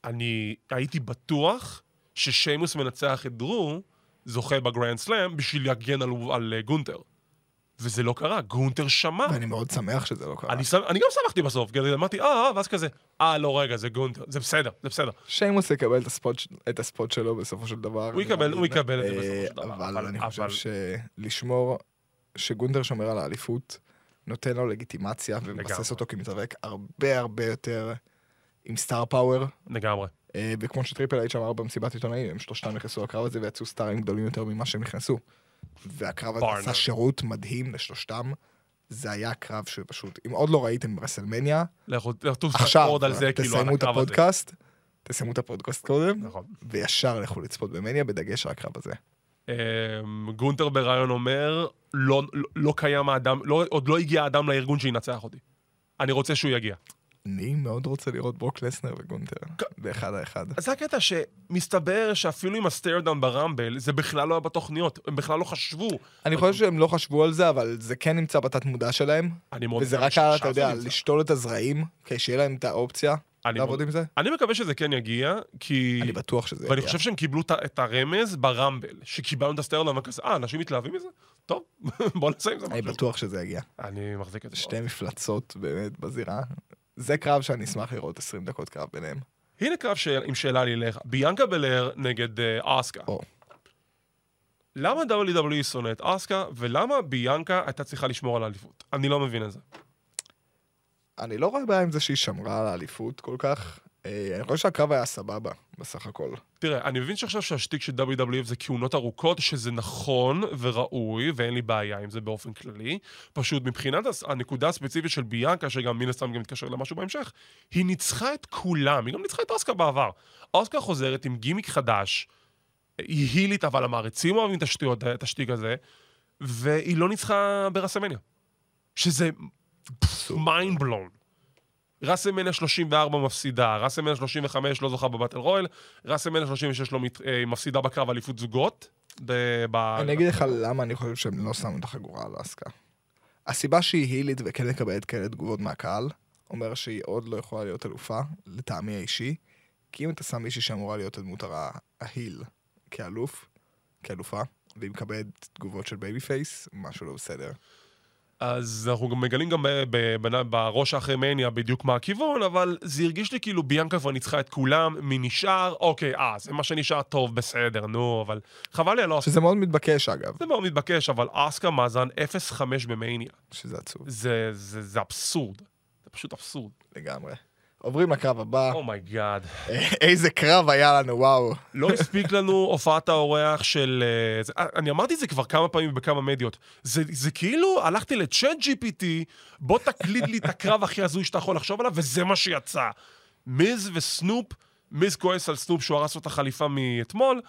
Speaker 3: אני הייתי בטוח ששיימוס מנצח את דרו, זוכה בגרנד סלאם, בשביל להגן על, על אה, גונטר. וזה לא קרה, גונטר שמע.
Speaker 4: ואני מאוד שמח שזה לא קרה.
Speaker 3: אני, שמח, אני גם שמחתי בסוף, כי אמרתי, אה, אה, ואז כזה, אה, לא, רגע, זה גונטר, זה בסדר, זה בסדר.
Speaker 4: שיימוס יקבל את הספוט, ש- את הספוט שלו בסופו של דבר.
Speaker 3: הוא יקבל- הוא יקבל את זה
Speaker 4: אה,
Speaker 3: בסופו של דבר,
Speaker 4: אבל
Speaker 3: אבל-
Speaker 4: אני חושב
Speaker 3: אבל-
Speaker 4: שלשמור, שגונדר שומר על האליפות, נותן לו לגיטימציה
Speaker 3: לגמרי.
Speaker 4: ומבסס אותו כמתאבק הרבה הרבה יותר עם סטאר פאוור.
Speaker 3: לגמרי.
Speaker 4: אה, וכמו שטריפל אייץ' אמר במסיבת עיתונאים, הם שלושתם נכנסו לקרב הזה ויצאו סטארים גדולים יותר ממה שהם נכנסו. והקרב הזה
Speaker 3: ברנר.
Speaker 4: עשה שירות מדהים לשלושתם. זה היה קרב שפשוט, אם עוד לא ראיתם ברסלמניה,
Speaker 3: לכו, לכתוב
Speaker 4: עכשיו,
Speaker 3: עוד על זה, כאילו, על
Speaker 4: תסיימו את
Speaker 3: הקרב הזה.
Speaker 4: הפודקאסט, תסיימו את הפודקאסט קודם,
Speaker 3: נכון.
Speaker 4: וישר לכו לצפות במניה, בדגש על הקרב הזה.
Speaker 3: אמ, גונטר בריאיון אומר, לא, לא, לא קיים האדם, לא, עוד לא הגיע האדם לארגון שינצח אותי. אני רוצה שהוא יגיע.
Speaker 4: אני מאוד רוצה לראות ברוק לסנר וגונטר, באחד האחד.
Speaker 3: כן. אז זה הקטע שמסתבר שאפילו עם הסטיירדאון ברמבל, זה בכלל לא היה בתוכניות, הם בכלל לא חשבו.
Speaker 4: אני חושב שהם לא חשבו על זה, אבל זה כן נמצא בתת מודע שלהם,
Speaker 3: אני מאוד
Speaker 4: וזה
Speaker 3: מקווה
Speaker 4: רק, ה- אתה
Speaker 3: ששם זה
Speaker 4: יודע,
Speaker 3: נמצא.
Speaker 4: לשתול את הזרעים, כדי שיהיה להם את האופציה
Speaker 3: אני
Speaker 4: לעבוד
Speaker 3: מאוד-
Speaker 4: עם זה.
Speaker 3: אני מקווה שזה כן יגיע, כי...
Speaker 4: אני בטוח שזה
Speaker 3: ואני
Speaker 4: יגיע.
Speaker 3: חושב שהם קיבלו את ה- את הרמז ברמבל, שקיבלנו את הסטיירדאון, וכזה, אה, אנשים מתלהבים מזה? טוב, בוא נעשה עם זה
Speaker 4: אני
Speaker 3: משהו.
Speaker 4: בטוח שזה יגיע.
Speaker 3: אני מחזיק את זה.
Speaker 4: שתי מפלצות באמת בזירה. זה קרב שאני אשמח לראות 20 דקות קרב ביניהם.
Speaker 3: הנה קרב ש... עם שאלה לי אליך. ביאנקה בלר נגד אה, אסקה.
Speaker 4: או.
Speaker 3: למה WWE שונא את אסקה, ולמה ביאנקה הייתה צריכה לשמור על האליפות? אני לא מבין את זה.
Speaker 4: אני לא רואה בעיה עם זה שהיא שמרה על האליפות כל כך. אה, אני חושב שהקרב היה סבבה, בסך הכל.
Speaker 3: תראה, אני מבין שעכשיו שהשטיק של WWF זה כהונות ארוכות, שזה נכון וראוי, ואין לי בעיה עם זה באופן כללי. פשוט מבחינת הס- הנקודה הספציפית של ביאנקה, שגם מן הסתם גם מתקשר למשהו בהמשך, היא ניצחה את כולם, היא גם ניצחה את אוסקר בעבר. אוסקר חוזרת עם גימיק חדש, היא הילית, אבל המעריצים אוהבים את השטויות, את השטיק הזה, והיא לא ניצחה ברסמניה. שזה mind blown. ראסלמניה 34 מפסידה, ראסלמניה 35 לא זוכה בבטל רויאל, ראסלמניה 36 לא מת... אה, מפסידה בקרב אליפות זוגות. ב... ב...
Speaker 4: אני אגיד לך למה אני חושב שהם לא שמו את החגורה על אסקה. הסיבה שהיא הילית וכן מקבלת כאלה תגובות מהקהל, אומר שהיא עוד לא יכולה להיות אלופה, לטעמי האישי, כי אם אתה שם מישהי שאמורה להיות הדמות הרעה, ההיל, כאלוף, כאלופה, והיא מקבלת תגובות של בייבי פייס, משהו לא בסדר.
Speaker 3: אז אנחנו גם מגלים גם ב... ב... ב... בראש אחרי מניה בדיוק מה הכיוון, אבל זה הרגיש לי כאילו ביאנקה כבר ניצחה את כולם, מי נשאר? אוקיי, אה, זה מה שנשאר, טוב, בסדר, נו, אבל חבל לי לא על אוסקר.
Speaker 4: שזה מאוד מתבקש אגב,
Speaker 3: זה מאוד מתבקש, אבל אסקה מאזן 0-5 במניה.
Speaker 4: שזה עצוב
Speaker 3: זה, זה, זה אבסורד. זה פשוט אבסורד. Oh
Speaker 4: לגמרי. עוברים לקרב הבא,
Speaker 3: אוקיי. אומייגאד.
Speaker 4: איזה קרב היה לנו, וואו.
Speaker 3: לא הספיק לנו הופעת האורח של... אה, זה- אה, אני אמרתי את זה כבר כמה פעמים בכמה מדיות. זה, זה כאילו, הלכתי לצ'אט GPT, בוא תקליד לי את הקרב הכי הזוי שאתה יכול לחשוב עליו, וזה מה שיצא. מיז וסנופ, מיז כועס על סנופ שהוא הרס לו את החליפה מאתמול,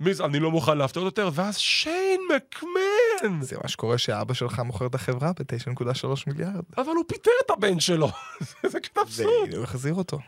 Speaker 3: מיז, אני לא מוכן להפתעות יותר, ואז שיין מקמן!
Speaker 4: זה מה שקורה שאבא שלך מוכר את החברה ב-9.3 מיליארד.
Speaker 3: אבל הוא פיטר את הבן שלו. זה קטע אבסורד.
Speaker 4: והוא החזיר אותו.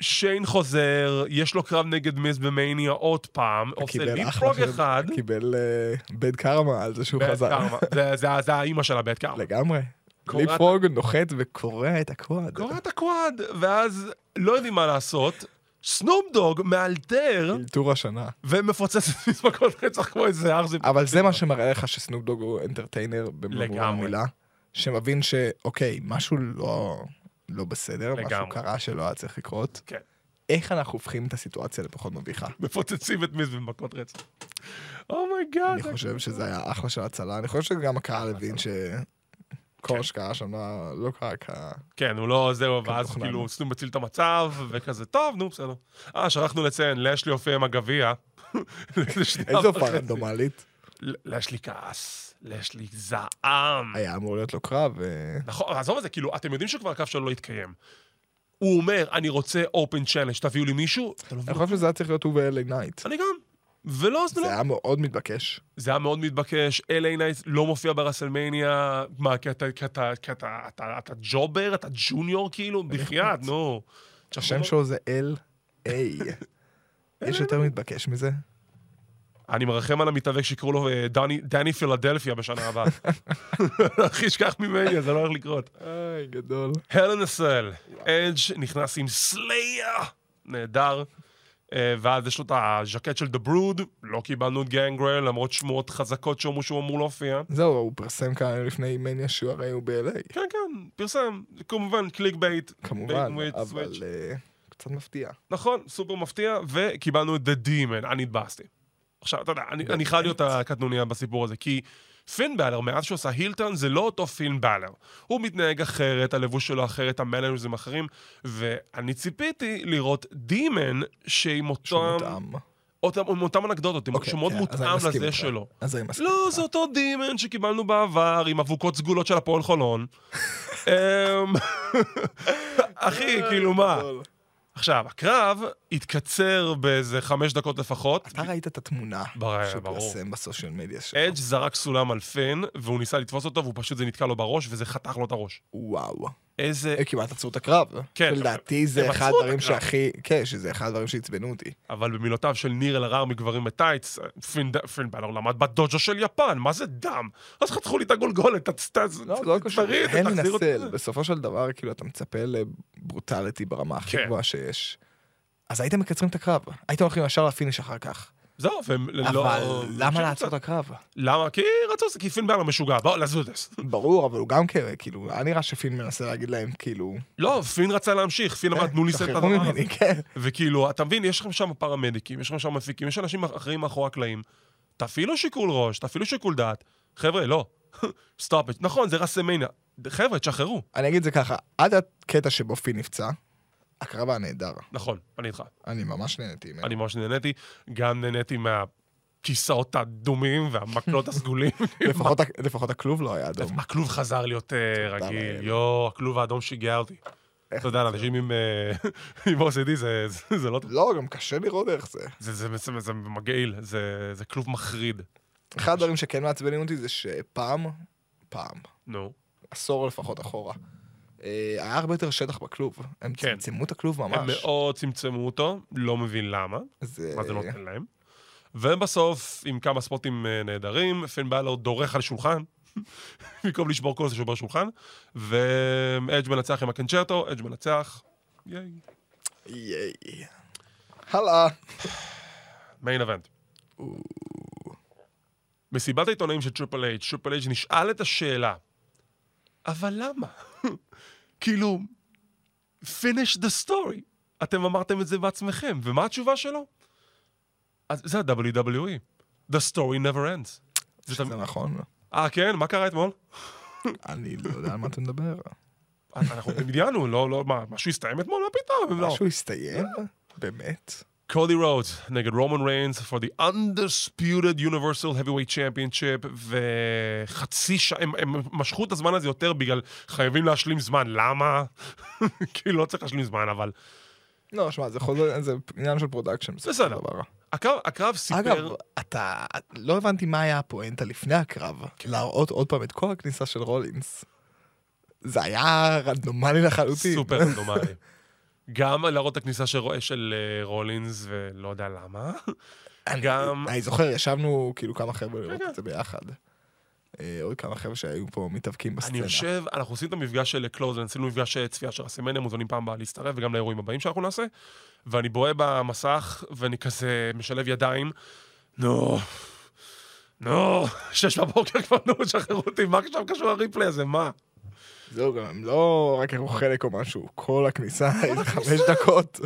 Speaker 3: שיין חוזר, יש לו קרב נגד מיז במאניה עוד פעם, עושה
Speaker 4: קיבל אחלה
Speaker 3: ליפרוג
Speaker 4: של-
Speaker 3: אחד.
Speaker 4: קיבל אה, בד קרמה על זה שהוא
Speaker 3: בית
Speaker 4: חזר.
Speaker 3: קרמה. זה- זה- זה האימא של הבית קרמה.
Speaker 4: לגמרי.
Speaker 3: קורע את-
Speaker 4: ליפרוג נוחת וקורע את הקוואד.
Speaker 3: קורא את הקוואד, ואז לא יודעים מה לעשות. סנופ דוג מאלתר
Speaker 4: אלתור השנה.
Speaker 3: ומפוצץ את מזמקות רצח כמו איזה ארזי.
Speaker 4: אבל זה מה שמראה לך שסנופ דוג הוא אנטרטיינר במובן
Speaker 3: לגמרי.
Speaker 4: המילה. שמבין שאוקיי, משהו לא... לא בסדר, משהו
Speaker 3: לגמרי.
Speaker 4: קרה שלא היה צריך לקרות.
Speaker 3: כן. אה,
Speaker 4: איך אנחנו הופכים את הסיטואציה לפחות מביכה?
Speaker 3: מפוצצים את מיז במכות רצח. Oh אומייגאד.
Speaker 4: אני חושב שזה היה אחלה של הצלה, אני חושב שגם הקהל הבין שכל מה שקרה שם לא- לא קרה כ...
Speaker 3: כן, הוא כן. לא, זהו, ואז
Speaker 4: כתוכנן.
Speaker 3: כאילו סנופ מציל את המצב, וכזה, טוב, נו, בסדר. אה, שכחנו לציין, לשלי הופיע עם הגביע.
Speaker 4: איזה
Speaker 3: לא,
Speaker 4: הופעה רנדומלית.
Speaker 3: לשלי כעס, לשלי זעם.
Speaker 4: היה אמור להיות לו קרב, אה,
Speaker 3: נכון, עזוב את זה, כאילו, אתם יודעים שכבר הקו שלו לא התקיים. הוא אומר, אני רוצה open challenge, תביאו לי מישהו, אתה לא מבין.
Speaker 4: אני חושב שזה היה צריך להיות הוא ואלי נייט.
Speaker 3: אני גם. ולא, זה לא.
Speaker 4: זה היה מאוד מתבקש.
Speaker 3: זה היה מאוד מתבקש, LA נייט לא מופיע ברסלמניה, מה, כי אתה, כי אתה, כי אתה, אתה, אתה ג'ובר, אתה ג'וניור כאילו, בחייאת, נו.
Speaker 4: השם שלו זה אל-איי. יש יותר מתבקש מזה?
Speaker 3: אני מרחם על המתאבק שיקראו לו אה, דני, דני פילדלפיה בשנה הבאה. אחי, שכח ממני, זה לא הולך לקרות.
Speaker 4: איי, גדול.
Speaker 3: הלן אסל, אדג' נכנס עם סליה נהדר. אה, ואז יש לו את הז'קט של The Brood, לא קיבלנו את גנגרל, למרות שמועות חזקות שאומרו שהוא אמור להופיע.
Speaker 4: זהו, הוא פרסם כאן לפני מניה שהוא הרי הוא ב-LA,
Speaker 3: כן, כן, פרסם, כמובן, קליק בייט.
Speaker 4: כמובן,
Speaker 3: בייט, סוויץ'.
Speaker 4: אבל אה, קצת מפתיע.
Speaker 3: נכון, סופר מפתיע, וקיבלנו את The Demon, אני התבאסתי. עכשיו, אתה יודע, אני, אני חייב להיות הקטנוניה בסיפור הזה, כי פין בלר, מאז שהוא עשה הילטון, זה לא אותו פין בלר. הוא מתנהג אחרת, הלבוש שלו אחרת, המלאנוזים אחרים, ואני ציפיתי לראות Demon שעם אותם,
Speaker 4: שמותאם.
Speaker 3: אותם, עם אותם אנקדוטות, עם משהו מאוד
Speaker 4: כן, אז אני
Speaker 3: מותאם
Speaker 4: מסכים
Speaker 3: לזה
Speaker 4: איתך.
Speaker 3: שלו.
Speaker 4: אז אני מסכים.
Speaker 3: לא, זה אותו דימן שקיבלנו בעבר עם אבוקות סגולות של הפועל חולון. אמ, אחי, כאילו מה?
Speaker 4: גדול.
Speaker 3: עכשיו, הקרב התקצר באיזה חמש דקות לפחות.
Speaker 4: אתה ראית את התמונה
Speaker 3: ברור,
Speaker 4: שהוא
Speaker 3: ברור.
Speaker 4: פרסם בסושיאל מדיה שלו.
Speaker 3: אדג' זרק סולם על פין, והוא ניסה לתפוס אותו, והוא פשוט, זה נתקע לו בראש, וזה חתך לו את הראש.
Speaker 4: וואו.
Speaker 3: איזה...
Speaker 4: הם כמעט עצרו את הקרב.
Speaker 3: כן.
Speaker 4: לדעתי זה
Speaker 3: הם
Speaker 4: אחד
Speaker 3: עצרו את
Speaker 4: הדברים
Speaker 3: הקרב.
Speaker 4: שהכי... כן, שזה אחד הדברים שעצבנו אותי.
Speaker 3: אבל במילותיו של ניר אלהרר מגברים בטייץ, פין, ד- פין בלור למד בדוג'ו של יפן, מה זה דם? אז חתכו לי את הגולגולת, תצ- תצ-
Speaker 4: לא, זה לא קשור.
Speaker 3: תריד,
Speaker 4: הן
Speaker 3: תחזיר אותי.
Speaker 4: מנסל. בסופו של דבר, כאילו, אתה מצפה לברוטליטי ברמה הכי
Speaker 3: כן.
Speaker 4: גבוהה שיש. אז הייתם מקצרים את הקרב. הייתם הולכים ישר לפיניש אחר כך.
Speaker 3: זהו, והם לא...
Speaker 4: אבל למה
Speaker 3: פשוט-
Speaker 4: לעצור את הקרב?
Speaker 3: למה? כי רצו, כי פין בלור משוגע, בואו, לזודס.
Speaker 4: ברור, אבל הוא גם כן, כאילו, היה נראה שפין מנסה להגיד להם, כאילו...
Speaker 3: לא, פין רצה להמשיך, פין אמר, לא, תנו לי לסיים את
Speaker 4: שחררו
Speaker 3: הדבר הזה.
Speaker 4: אה, ממני, כן.
Speaker 3: וכאילו, אתה מבין, יש לכם שם פרמדיקים, יש לכם שם מפיקים, יש אנשים אחרים מאחורי הקלעים. תפעילו שיקול ראש, תפעילו שיקול דעת. חבר'ה, לא. סטופ את. נכון, זה רסמניה. חבר'ה, תשחררו.
Speaker 4: אני אגיד זה ככה, עד הקטע שבו פין נפצע, הקרב היה נהדר.
Speaker 3: נכון, אני איתך.
Speaker 4: אני ממש נהניתי ממנו.
Speaker 3: אני ממש נהניתי. גם נהניתי מהכיסאות האדומים והמקלות הסגולים.
Speaker 4: לפחות ה- לפחות הכלוב לא היה אדום.
Speaker 3: הכלוב חזר להיות אה, רגיל.
Speaker 4: לאל.
Speaker 3: יואו, הכלוב האדום שיגע אותי. אתה יודע, לאנשים עם אה, עם OCD זה- זה- זה לא טוב.
Speaker 4: לא, גם קשה לראות איך זה.
Speaker 3: זה- זה- זה- זה מגעיל, זה זה כלוב מחריד.
Speaker 4: אחד הדברים שכן מעצבנים אותי זה שפעם, פעם,
Speaker 3: נו.
Speaker 4: עשור לפחות אחורה, אה, היה הרבה יותר שטח בכלוב. הם
Speaker 3: כן.
Speaker 4: צמצמו את הכלוב
Speaker 3: הם
Speaker 4: ממש. אה.
Speaker 3: מאוד צמצמו אותו, לא מבין למה,
Speaker 4: זה-
Speaker 3: מה זה לא- נותן להם. ובסוף, עם כמה ספוטים אה, נהדרים, פין בלור דורך על שולחן, במקום לשבור כוס שובר שולחן, ואדג' מנצח עם הקנצ'רטו, אדג' מנצח, ייי,
Speaker 4: ייי. הלאה.
Speaker 3: מיין אבנט. מסיבת העיתונאים של טריפל אייג', טריפל אייג' נשאל את השאלה, אבל למה? כאילו, finish the story. אתם אמרתם את זה בעצמכם, ומה התשובה שלו? אז זה ה-WWE. The story never ends. זה
Speaker 4: שזה
Speaker 3: תמיד-
Speaker 4: נכון.
Speaker 3: אה, כן? מה קרה אתמול?
Speaker 4: אני לא יודע על מה אתה מדבר.
Speaker 3: אנחנו דמיינו, לא, לא, מה, משהו הסתיים אתמול? מה פתאום? לא.
Speaker 4: משהו הסתיים? באמת?
Speaker 3: קודי רודס נגד רומן ריינס for the undisputed universal heavyweight championship וחצי שעה, הם, הם משכו את הזמן הזה יותר בגלל חייבים להשלים זמן, למה? כאילו לא צריך להשלים זמן, אבל
Speaker 4: לא, שמע, זה חוזר, זה עניין של פרודקשן. בסופו של
Speaker 3: בסדר.
Speaker 4: דבר.
Speaker 3: הקרב, הקרב סיפר...
Speaker 4: אגב, אתה... לא הבנתי מה היה הפואנטה לפני הקרב.
Speaker 3: כן.
Speaker 4: להראות עוד פעם את כל הכניסה של רולינס. זה היה רנדומלי לחלוטין.
Speaker 3: סופר רנדומלי. גם להראות את הכניסה של, רו- של אה, רולינס ולא יודע למה.
Speaker 4: אני-
Speaker 3: גם-
Speaker 4: אני זוכר, ישבנו כאילו כמה חבר'ה לראות
Speaker 3: כן.
Speaker 4: את זה ביחד. אה, עוד כמה חבר'ה שהיו פה מתאבקים
Speaker 3: אני
Speaker 4: בסצנה.
Speaker 3: יושב, אנחנו עושים את המפגש של קלוזן, עשינו מפגש אה, צפייה של הסמניה, מוזמנים פעם הבאה להצטרף, וגם לאירועים הבאים שאנחנו נעשה, ואני בוהה במסך, ואני כזה משלב ידיים, נו, נו, שש בבוקר כבר, נו, שחררו אותי, מה עכשיו קשור הריפלי הזה, מה?
Speaker 4: זהו, גם הם לא רק הראו חלק או משהו, כל הכניסה, איזה חמש דקות.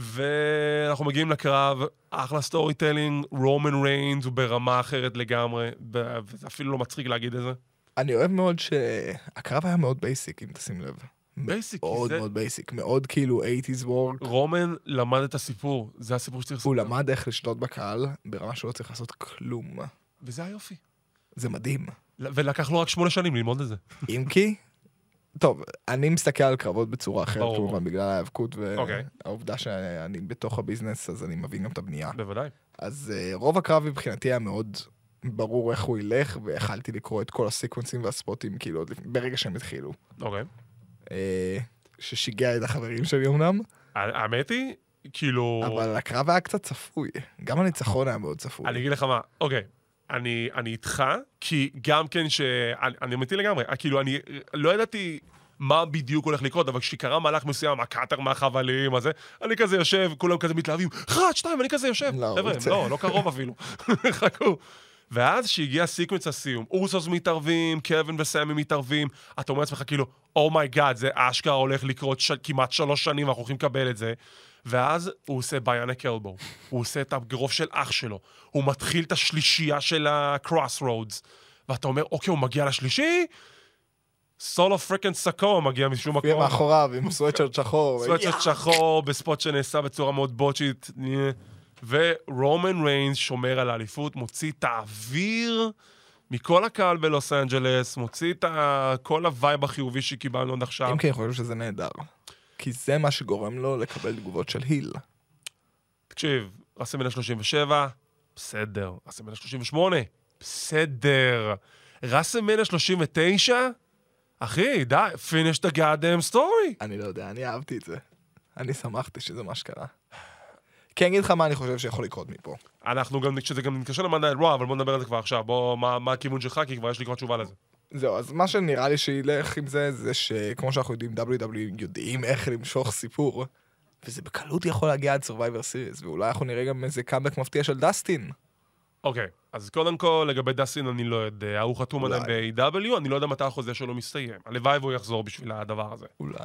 Speaker 3: ואנחנו מגיעים לקרב, אחלה סטורי טלינג, רומן ריינס הוא ברמה אחרת לגמרי, ב- וזה אפילו לא מצחיק להגיד את זה.
Speaker 4: אני אוהב מאוד שהקרב היה מאוד בייסיק, אם תשים לב.
Speaker 3: בייסיק,
Speaker 4: מאוד
Speaker 3: זה-
Speaker 4: מאוד בייסיק, מאוד כאילו 80's work.
Speaker 3: רומן למד את הסיפור, זה הסיפור שצריך
Speaker 4: הוא
Speaker 3: לספר,
Speaker 4: למד איך לשלוט בקהל ברמה שהוא לא צריך לעשות כלום.
Speaker 3: וזה היופי.
Speaker 4: זה מדהים.
Speaker 3: ולקח לו רק שמונה שנים ללמוד את זה.
Speaker 4: אם כי, טוב, אני מסתכל על קרבות בצורה אחרת,
Speaker 3: ברור.
Speaker 4: כמובן, בגלל ההיאבקות
Speaker 3: אוקיי.
Speaker 4: והעובדה שאני בתוך הביזנס, אז אני מבין גם את הבנייה.
Speaker 3: בוודאי.
Speaker 4: אז אה, רוב הקרב מבחינתי היה מאוד ברור איך הוא ילך, ויכלתי לקרוא את כל הסקוונסים והספוטים, כאילו, עוד לפ- ברגע שהם התחילו.
Speaker 3: אוקיי.
Speaker 4: אה, ששיגע את החברים שלי אמנם,
Speaker 3: האמת היא, כאילו,
Speaker 4: אבל הקרב היה קצת צפוי. גם הניצחון היה מאוד צפוי.
Speaker 3: אני אגיד לך מה, אוקיי, אני, אני איתך, כי גם כן ש... אני, אני אמיתי לגמרי, אה, כאילו, אני אה, לא ידעתי מה בדיוק הולך לקרות, אבל כשקרה מהלך מסוים, הקאטר מהחבלים, הזה, אני כזה יושב, כולם כזה מתלהבים, אחת, שתיים, אני כזה יושב.
Speaker 4: לא, הוא
Speaker 3: חבר'ה,
Speaker 4: רוצה.
Speaker 3: לא, לא קרוב אפילו. חכו. ואז כשהגיע סיקוונס הסיום, אורסוס מתערבים, קווין וסמי מתערבים, אתה אומר לעצמך כאילו, אומייגאד, זה אשכרה הולך לקרות ש... כמעט שלוש שנים, אנחנו הולכים לקבל את זה. ואז הוא עושה ביאנק אלבו, הוא עושה את הגרוף של אח שלו, הוא מתחיל את השלישייה של הקרוס רודס, ואתה אומר, אוקיי, הוא מגיע לשלישי? סולו פריקן סאקו מגיע משום
Speaker 4: יהיה
Speaker 3: מקום.
Speaker 4: מאחוריו עם סוואטשרט שחור.
Speaker 3: סוואטשרט שחור בספוט שנעשה בצורה מאוד בוטשית. נה. ורומן ריינס שומר על האליפות, מוציא את האוויר מכל הקהל בלוס אנג'לס, מוציא את ה- כל הווייב החיובי שקיבלנו עד עכשיו.
Speaker 4: אם כן- כי אני חושב שזה נהדר. כי זה מה שגורם לו לקבל תגובות של היל.
Speaker 3: תקשיב, רסמל 37, בסדר. רסמל 38, בסדר. רסמל 39, אחי, די, finish the goddamn story.
Speaker 4: אני לא יודע, אני אהבתי את זה. אני שמחתי שזה מה שקרה. כי אני אגיד לך מה אני חושב שיכול לקרות מפה.
Speaker 3: אנחנו גם, כשזה גם מתקשר למדעי רוע, אבל בוא נדבר על זה כבר עכשיו. בוא, מה, מה הכיוון שלך? כי כבר יש לי כבר תשובה לזה.
Speaker 4: זהו, אז מה שנראה לי שילך עם זה, זה שכמו שאנחנו יודעים, WWE יודעים איך למשוך סיפור. וזה בקלות יכול להגיע עד Survivor Series, ואולי אנחנו נראה גם איזה קאמבק מפתיע של דסטין.
Speaker 3: אוקיי, אז קודם כל, לגבי דסין אני לא יודע, הוא חתום עליהם
Speaker 4: אולי.
Speaker 3: ב-AW, אני לא יודע מתי החוזה שלו מסתיים. הלוואי והוא יחזור בשביל הדבר הזה.
Speaker 4: אולי...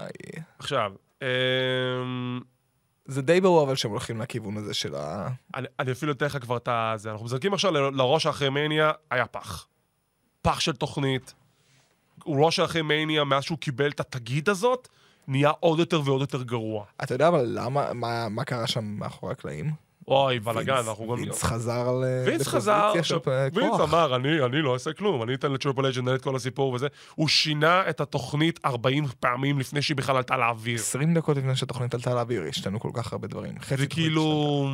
Speaker 3: עכשיו, אמ...
Speaker 4: זה די ברור אבל שהם הולכים לכיוון הזה של ה...
Speaker 3: אני, אני אפילו אתן לך כבר את זה. אנחנו מזרקים עכשיו ל- לראש אחרי מניה, היה פח. פח של תוכנית. הוא ראש אחרי מניה, מאז שהוא קיבל את התגית הזאת, נהיה עוד יותר ועוד יותר גרוע.
Speaker 4: אתה יודע אבל למה, מה, מה קרה שם מאחורי הקלעים?
Speaker 3: אוי, בלאגן, אנחנו גם...
Speaker 4: וינס חזר ל...
Speaker 3: וינס חזר,
Speaker 4: לפוזיציה של
Speaker 3: עכשיו,
Speaker 4: פ-
Speaker 3: וינס
Speaker 4: כוח.
Speaker 3: אמר, אני, אני לא אעשה כלום, אני אתן לטריפל אג' לנהל את כל הסיפור וזה. הוא שינה את התוכנית 40 פעמים לפני שהיא בכלל עלתה לאוויר.
Speaker 4: 20 דקות לפני שהתוכנית עלתה לאוויר, השתנו כל כך הרבה דברים. חצי
Speaker 3: זה
Speaker 4: תוכנית
Speaker 3: כאילו...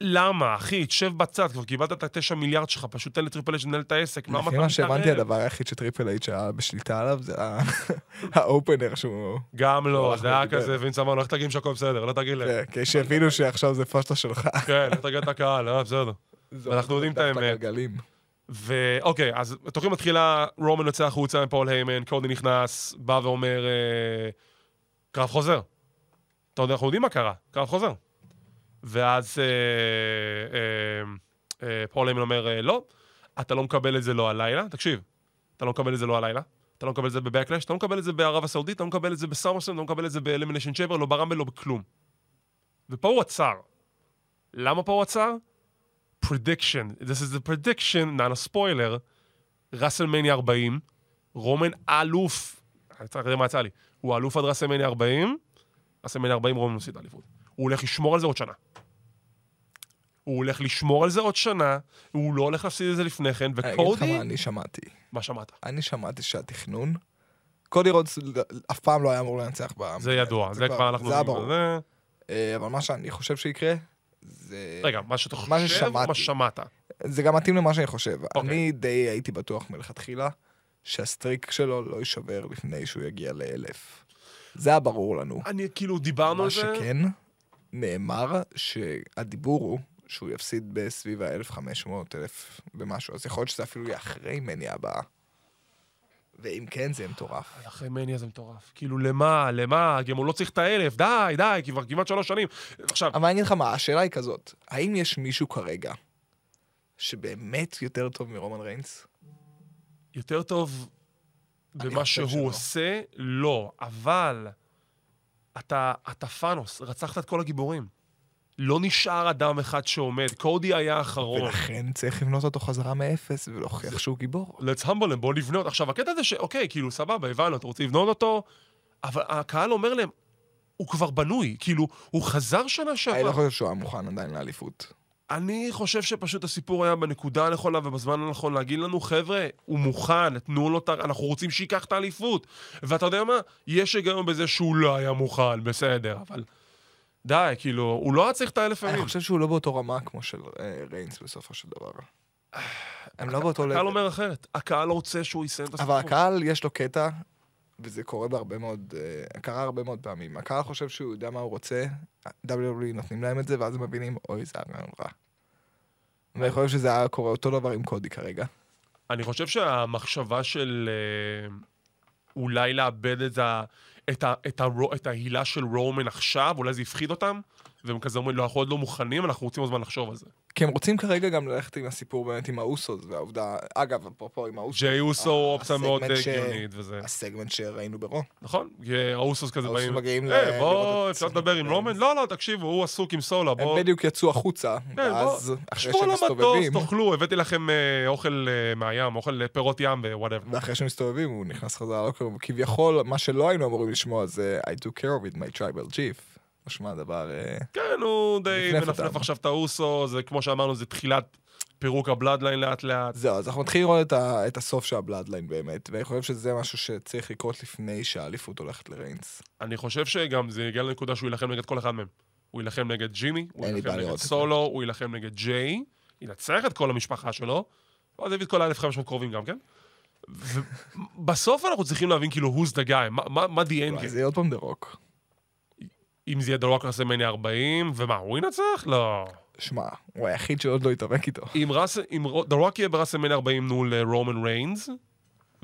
Speaker 3: למה, אחי, תשב בצד, כבר קיבלת את התשע מיליארד שלך, פשוט תן לטריפל אג' לנהל את העסק,
Speaker 4: השתנתה.
Speaker 3: למה
Speaker 4: לפי
Speaker 3: אתה
Speaker 4: מה שהבנתי,
Speaker 3: מתערב?
Speaker 4: הדבר היחיד שטריפל אייט שהיה בשליטה עליו זה ה- האופנר שהוא...
Speaker 3: גם לא,
Speaker 4: הלך
Speaker 3: זה היה
Speaker 4: ודיבר.
Speaker 3: כזה, וינס אמר לו, איך תגיד שהכל בסדר, לא תגיד להם.
Speaker 4: כן, כי שהבינו שעכשיו זה פשטה שלך.
Speaker 3: כן, איך תגיד את הקהל, אה, בסדר.
Speaker 4: זה
Speaker 3: אנחנו יודעים את
Speaker 4: דף
Speaker 3: האמת.
Speaker 4: הגלגלים.
Speaker 3: ואוקיי, אוקיי, אז התוכנית מתחילה, רומן יוצא החוצה עם פול היימן, קודי נכנס, בא ואומר, אה, קרב חוזר. אתה יודע, אנחנו יודעים מה קרה, קרב חוזר. ואז אה, אה, אה, פול היימן אומר, אה, לא, אתה לא מקבל את זה לא הלילה, תקשיב, אתה לא מקבל את זה לא הלילה, אתה לא מקבל את זה בבקלאש, אתה לא מקבל את זה בערב הסעודית, אתה לא מקבל את זה בסמרסון, אתה לא מקבל את זה באלמיניישן צ'ייבר, לא ברמבל, לא בכלום. ופה הוא עצר. למה פה הוא עצר? prediction, this is the prediction, נאנה ספוילר, ראסלמניה 40, רומן אלוף, אני צריך לדעת מה יצא לי, הוא אלוף עד ראסלמניה 40, ראסלמניה 40 רומן מפסיד את האליפות. הוא הולך לשמור על זה עוד שנה. הוא הולך לשמור על זה עוד שנה, הוא לא הולך להפסיד את זה לפני כן,
Speaker 4: אני אגיד לך
Speaker 3: וקודי,
Speaker 4: מה אני שמעתי.
Speaker 3: מה שמעת?
Speaker 4: אני שמעתי שהתכנון... קודי רודס אף פעם לא היה אמור לנצח ב...
Speaker 3: זה ידוע, זה כבר אנחנו
Speaker 4: זה היה
Speaker 3: יודעים.
Speaker 4: ברור.
Speaker 3: זה-
Speaker 4: אה, אבל מה שאני חושב שיקרה, זה...
Speaker 3: רגע, מה שאתה
Speaker 4: אה, מה
Speaker 3: חושב,
Speaker 4: ששמעתי.
Speaker 3: מה שמעת.
Speaker 4: זה גם מתאים למה שאני חושב.
Speaker 3: אוקיי.
Speaker 4: אני די הייתי בטוח מלכתחילה שהסטריק שלו לא יישבר לפני שהוא יגיע לאלף. זה היה ברור לנו.
Speaker 3: אני, כאילו, דיברנו
Speaker 4: מה
Speaker 3: על זה.
Speaker 4: שכן, נאמר שהדיבור הוא שהוא יפסיד בסביב ה-1500, אלף ומשהו, אז יכול להיות שזה אפילו יהיה אחרי מניה הבאה. ואם כן, זה יהיה מטורף.
Speaker 3: אחרי מניה זה מטורף. כאילו, למה, למה, גם הוא לא צריך את האלף, די, די, כבר כמעט שלוש שנים. עכשיו,
Speaker 4: אבל אני אגיד לך מה, השאלה היא כזאת, האם יש מישהו כרגע שבאמת יותר טוב מרומן ריינס?
Speaker 3: יותר טוב
Speaker 4: אני
Speaker 3: במה
Speaker 4: חושב
Speaker 3: שהוא
Speaker 4: שלא.
Speaker 3: עושה, לא, אבל אתה, אתה פאנוס, רצחת את כל הגיבורים. לא נשאר אדם אחד שעומד, קודי היה האחרון.
Speaker 4: ולכן צריך לבנות אותו חזרה מאפס ולהוכיח שהוא גיבור.
Speaker 3: let's humble him, בואו לבנות. עכשיו, הקטע זה שאוקיי, כאילו, סבבה, הבנו, אתם רוצים לבנות אותו, אבל הקהל אומר להם, הוא כבר בנוי, כאילו, הוא חזר שנה
Speaker 4: אני לא
Speaker 3: שעברה.
Speaker 4: חושב שהוא היה מוכן עדיין לאליפות.
Speaker 3: אני חושב שפשוט הסיפור היה בנקודה הנכונה ובזמן הנכון להגיד לנו, חבר'ה, הוא מוכן, תנו לו את ה... אנחנו רוצים שייקח את האליפות. ואתה יודע מה? יש היגיון בזה שהוא לא היה מוכן, בסדר, אבל... די, כאילו, הוא לא היה צריך את האלף
Speaker 4: אני
Speaker 3: ימים.
Speaker 4: חושב שהוא לא באותו רמה כמו של אה, ריינס בסופו של דבר. הם לא באותו
Speaker 3: הקהל
Speaker 4: לב.
Speaker 3: אומר אחרת, הקהל לא רוצה שהוא יסיים את הסיפור.
Speaker 4: אבל הקהל יש לו קטע, וזה קורה בהרבה מאוד, אה, קרה הרבה מאוד פעמים. הקהל חושב שהוא יודע מה הוא רוצה, WWE נותנים להם את זה, ואז הם מבינים, אוי, זה היה רעיון רע. ואני חושב שזה היה קורה אותו דבר עם קודי כרגע.
Speaker 3: אני חושב שהמחשבה של... אה, אולי לאבד את, ה, את, ה, את, הרו, את ההילה של רומן עכשיו, אולי זה הפחיד אותם, והם כזה אומרים, לא, אנחנו עוד לא מוכנים, אנחנו רוצים עוד זמן לחשוב על זה.
Speaker 4: כי הם רוצים כרגע גם ללכת עם הסיפור באמת עם האוסוס, והעובדה, אגב, אפרופו עם האוסוס,
Speaker 3: ג'יי אוסו הוא אופציה מאוד
Speaker 4: אוקיי. הסגמנט
Speaker 3: אה,
Speaker 4: ש-
Speaker 3: הגיונית וזה.
Speaker 4: הסגמנט שראינו ברו.
Speaker 3: נכון? כי האוסוס כזה
Speaker 4: האוסוס
Speaker 3: באים,
Speaker 4: מגיעים ל-
Speaker 3: "היי, בוא,
Speaker 4: לראות את-
Speaker 3: אפשר לדבר עם רומן? לא, לא, תקשיבו, הוא עסוק עם סולה,
Speaker 4: הם
Speaker 3: בוא...
Speaker 4: בדיוק יצאו החוצה,
Speaker 3: כן,
Speaker 4: ואז
Speaker 3: בוא,
Speaker 4: אחרי
Speaker 3: שבו
Speaker 4: שהם
Speaker 3: על
Speaker 4: מסתובבים,
Speaker 3: המטוס, תאכלו, הבאתי לכם אה, אוכל אה, מהים, אוכל אה, פירות ים ווואטאבר.
Speaker 4: ואחרי שהם מסתובבים הוא נכנס חזרה לוקר, כביכול, מה שלא היינו אמורים לשמוע זה I do care with my tribal chief. משמע דבר... אה,
Speaker 3: כן, הוא די
Speaker 4: נפנף
Speaker 3: מנפנף
Speaker 4: אותם.
Speaker 3: עכשיו את האוסו, זה כמו שאמרנו, זה תחילת פירוק הבלאדליין לאט לאט.
Speaker 4: זהו, אז אנחנו מתחילים לראות את, ה... את הסוף של הבלאדליין באמת, ואני חושב שזה משהו שצריך לקרות לפני שהאליפות הולכת לריינס.
Speaker 3: אני חושב שגם זה יגיע לנקודה שהוא יילחם נגד כל אחד מהם. הוא יילחם נגד ג'ימי, הוא
Speaker 4: אין לי בעיה
Speaker 3: יילחם נגד
Speaker 4: לראות את זה.
Speaker 3: סולו, הוא יילחם נגד ג'יי, ינצח את כל המשפחה שלו, ואז יביא את כל ה-1500 קרובים גם כן. ובסוף אנחנו צריכים להבין כאילו, who's the guy, מה- מה- מה the end
Speaker 4: וואי,
Speaker 3: game.
Speaker 4: זה יהיה עוד פעם דה רוק.
Speaker 3: אם זה יהיה דלוק רסלמניה 40, ומה, הוא ינצח? לא.
Speaker 4: שמע, הוא היחיד שעוד לא התאבק איתו.
Speaker 3: אם ראס- אם רו- The Rock יהיה ברסלמניה 40 מול אה, רומן ריינס,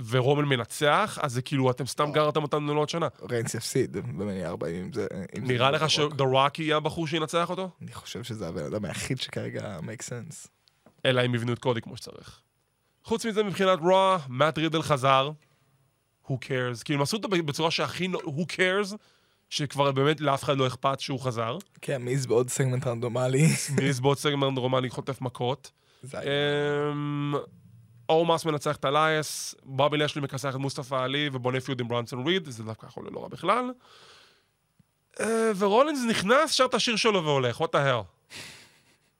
Speaker 3: ורומן מנצח, אז זה כאילו, אתם סתם גרתם אותנו לעוד שנה.
Speaker 4: ריינס יפסיד במניע 40 אם זה... אם זה
Speaker 3: נראה
Speaker 4: לא
Speaker 3: לך
Speaker 4: דה רוק.
Speaker 3: ש-The Rock יהיה הבחור שינצח אותו?
Speaker 4: אני חושב שזה הבן אדם היחיד שכרגע make sense.
Speaker 3: אלא אם יבנו את קודי כמו שצריך. חוץ מזה, מבחינת רוע, מאט רידל חזר, who cares, כאילו הם עשו אותו בצורה שהכי, לא- who cares, שכבר באמת לאף אחד לא אכפת שהוא חזר.
Speaker 4: כן, מיז בעוד סגמנט רנדומלי.
Speaker 3: מיזבוט סגמנט רומני חוטף מכות.
Speaker 4: זה
Speaker 3: אה,
Speaker 4: היה-
Speaker 3: אמ, אורמאס מנצח את אלייס, בובי לשלי מכסח את מוסטפא עלי ובונה פיוד עם ברנסון ריד, זה דווקא יכול להיות לא רע בכלל. אה, ורולינס נכנס, שר את השיר שלו והולך, what the hell.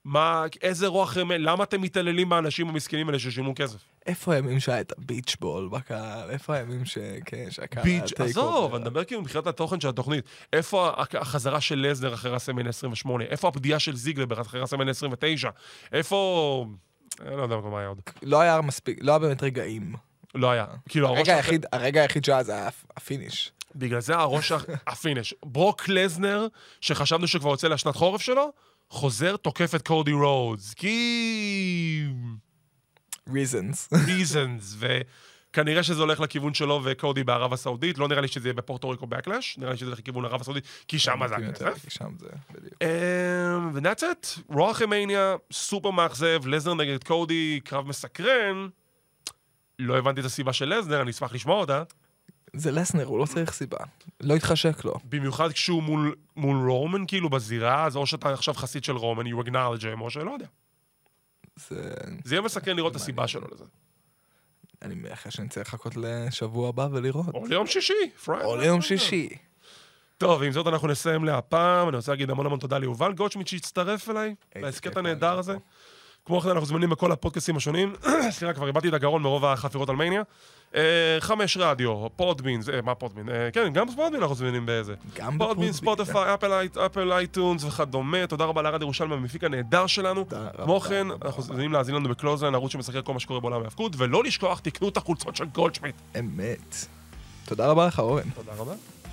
Speaker 3: מה, איזה רוח רמל, למה אתם מתעללים באנשים המסכנים האלה ששילמו כסף?
Speaker 4: איפה הימים שהיה את הביץ' בול בקהל? איפה הימים ש... כן, שהקהל... היה
Speaker 3: ביץ',
Speaker 4: take
Speaker 3: עזוב,
Speaker 4: over?
Speaker 3: אני מדבר כאילו מבחינת התוכן של התוכנית. איפה ה- החזרה של לזנר אחרי הסמן 28? איפה הפדיעה של זיגלר אחרי הסמן 29? איפה... אני לא יודע מה היה עוד.
Speaker 4: לא היה מספיק, לא היה באמת רגעים.
Speaker 3: לא היה. כאילו, הראש...
Speaker 4: הרגע
Speaker 3: האחר-
Speaker 4: היחיד, הרגע היחיד שהיה זה היה הפ- הפיניש.
Speaker 3: בגלל זה הראש... האח- הפיניש. ברוק לזנר, שחשבנו שכבר יוצא לשנת חורף שלו, חוזר, תוקף את קודי רודס. כי...
Speaker 4: reasons.
Speaker 3: reasons, וכנראה שזה הולך לכיוון שלו וקודי בערב הסעודית. לא נראה לי שזה יהיה בפורטו ריקו בקלאש, נראה לי שזה הולך לכיוון ערב הסעודית, כי שם זה הכסף.
Speaker 4: כי שם זה, בדיוק.
Speaker 3: אמ, ו-that's it, רוע אחרי מניה, סופר מאכזב, לזנר נגד קודי, קרב מסקרן. לא הבנתי את הסיבה של לזנר, אני אשמח לשמוע אותה.
Speaker 4: זה לסנר, הוא לא צריך סיבה. לא התחשק לו.
Speaker 3: במיוחד כשהוא מול, מול רומן, כאילו, בזירה, אז או שאתה עכשיו חסיד של רומן, you acknowledge him, או שלא יודע.
Speaker 4: זה...
Speaker 3: זה יהיה מסקרן לראות את הסיבה שלו לזה.
Speaker 4: אני מאחל שאני צריך לחכות לשבוע הבא ולראות.
Speaker 3: או ליום שישי, פרייד.
Speaker 4: או ליום שישי.
Speaker 3: טוב, עם זאת אנחנו נסיים להפעם. אני רוצה להגיד המון המון תודה ליובל גולדשמיט שהצטרף אליי,
Speaker 4: איזה
Speaker 3: להסכת
Speaker 4: כיף
Speaker 3: הנהדר
Speaker 4: היה
Speaker 3: הזה.
Speaker 4: פה.
Speaker 3: כמו כן, אנחנו זמינים בכל הפודקאסטים השונים. סליחה, כבר איבדתי את הגרון מרוב החפירות על מניה. אה, חמש רדיו, פודבין, זה- מה פודבין? אה, כן, גם פודבין אנחנו זמינים באיזה. פודבין,
Speaker 4: גם בפודבין,
Speaker 3: ספוטיפיי, אפל אייט- אפל אייטונס וכדומה. תודה רבה לארד ירושלמי, המפיק הנהדר שלנו.
Speaker 4: תודה רבה,
Speaker 3: כמו כן,
Speaker 4: תודה
Speaker 3: אנחנו
Speaker 4: רבה.
Speaker 3: זמינים להאזין לנו בקלוזליין, ערוץ שמסחרר כל מה שקורה בעולם ההאבקות, ולא לשכוח, תקנו את החולצות של גולדשמיט.
Speaker 4: אמת. תודה רבה לך, אורן.
Speaker 3: תודה רבה.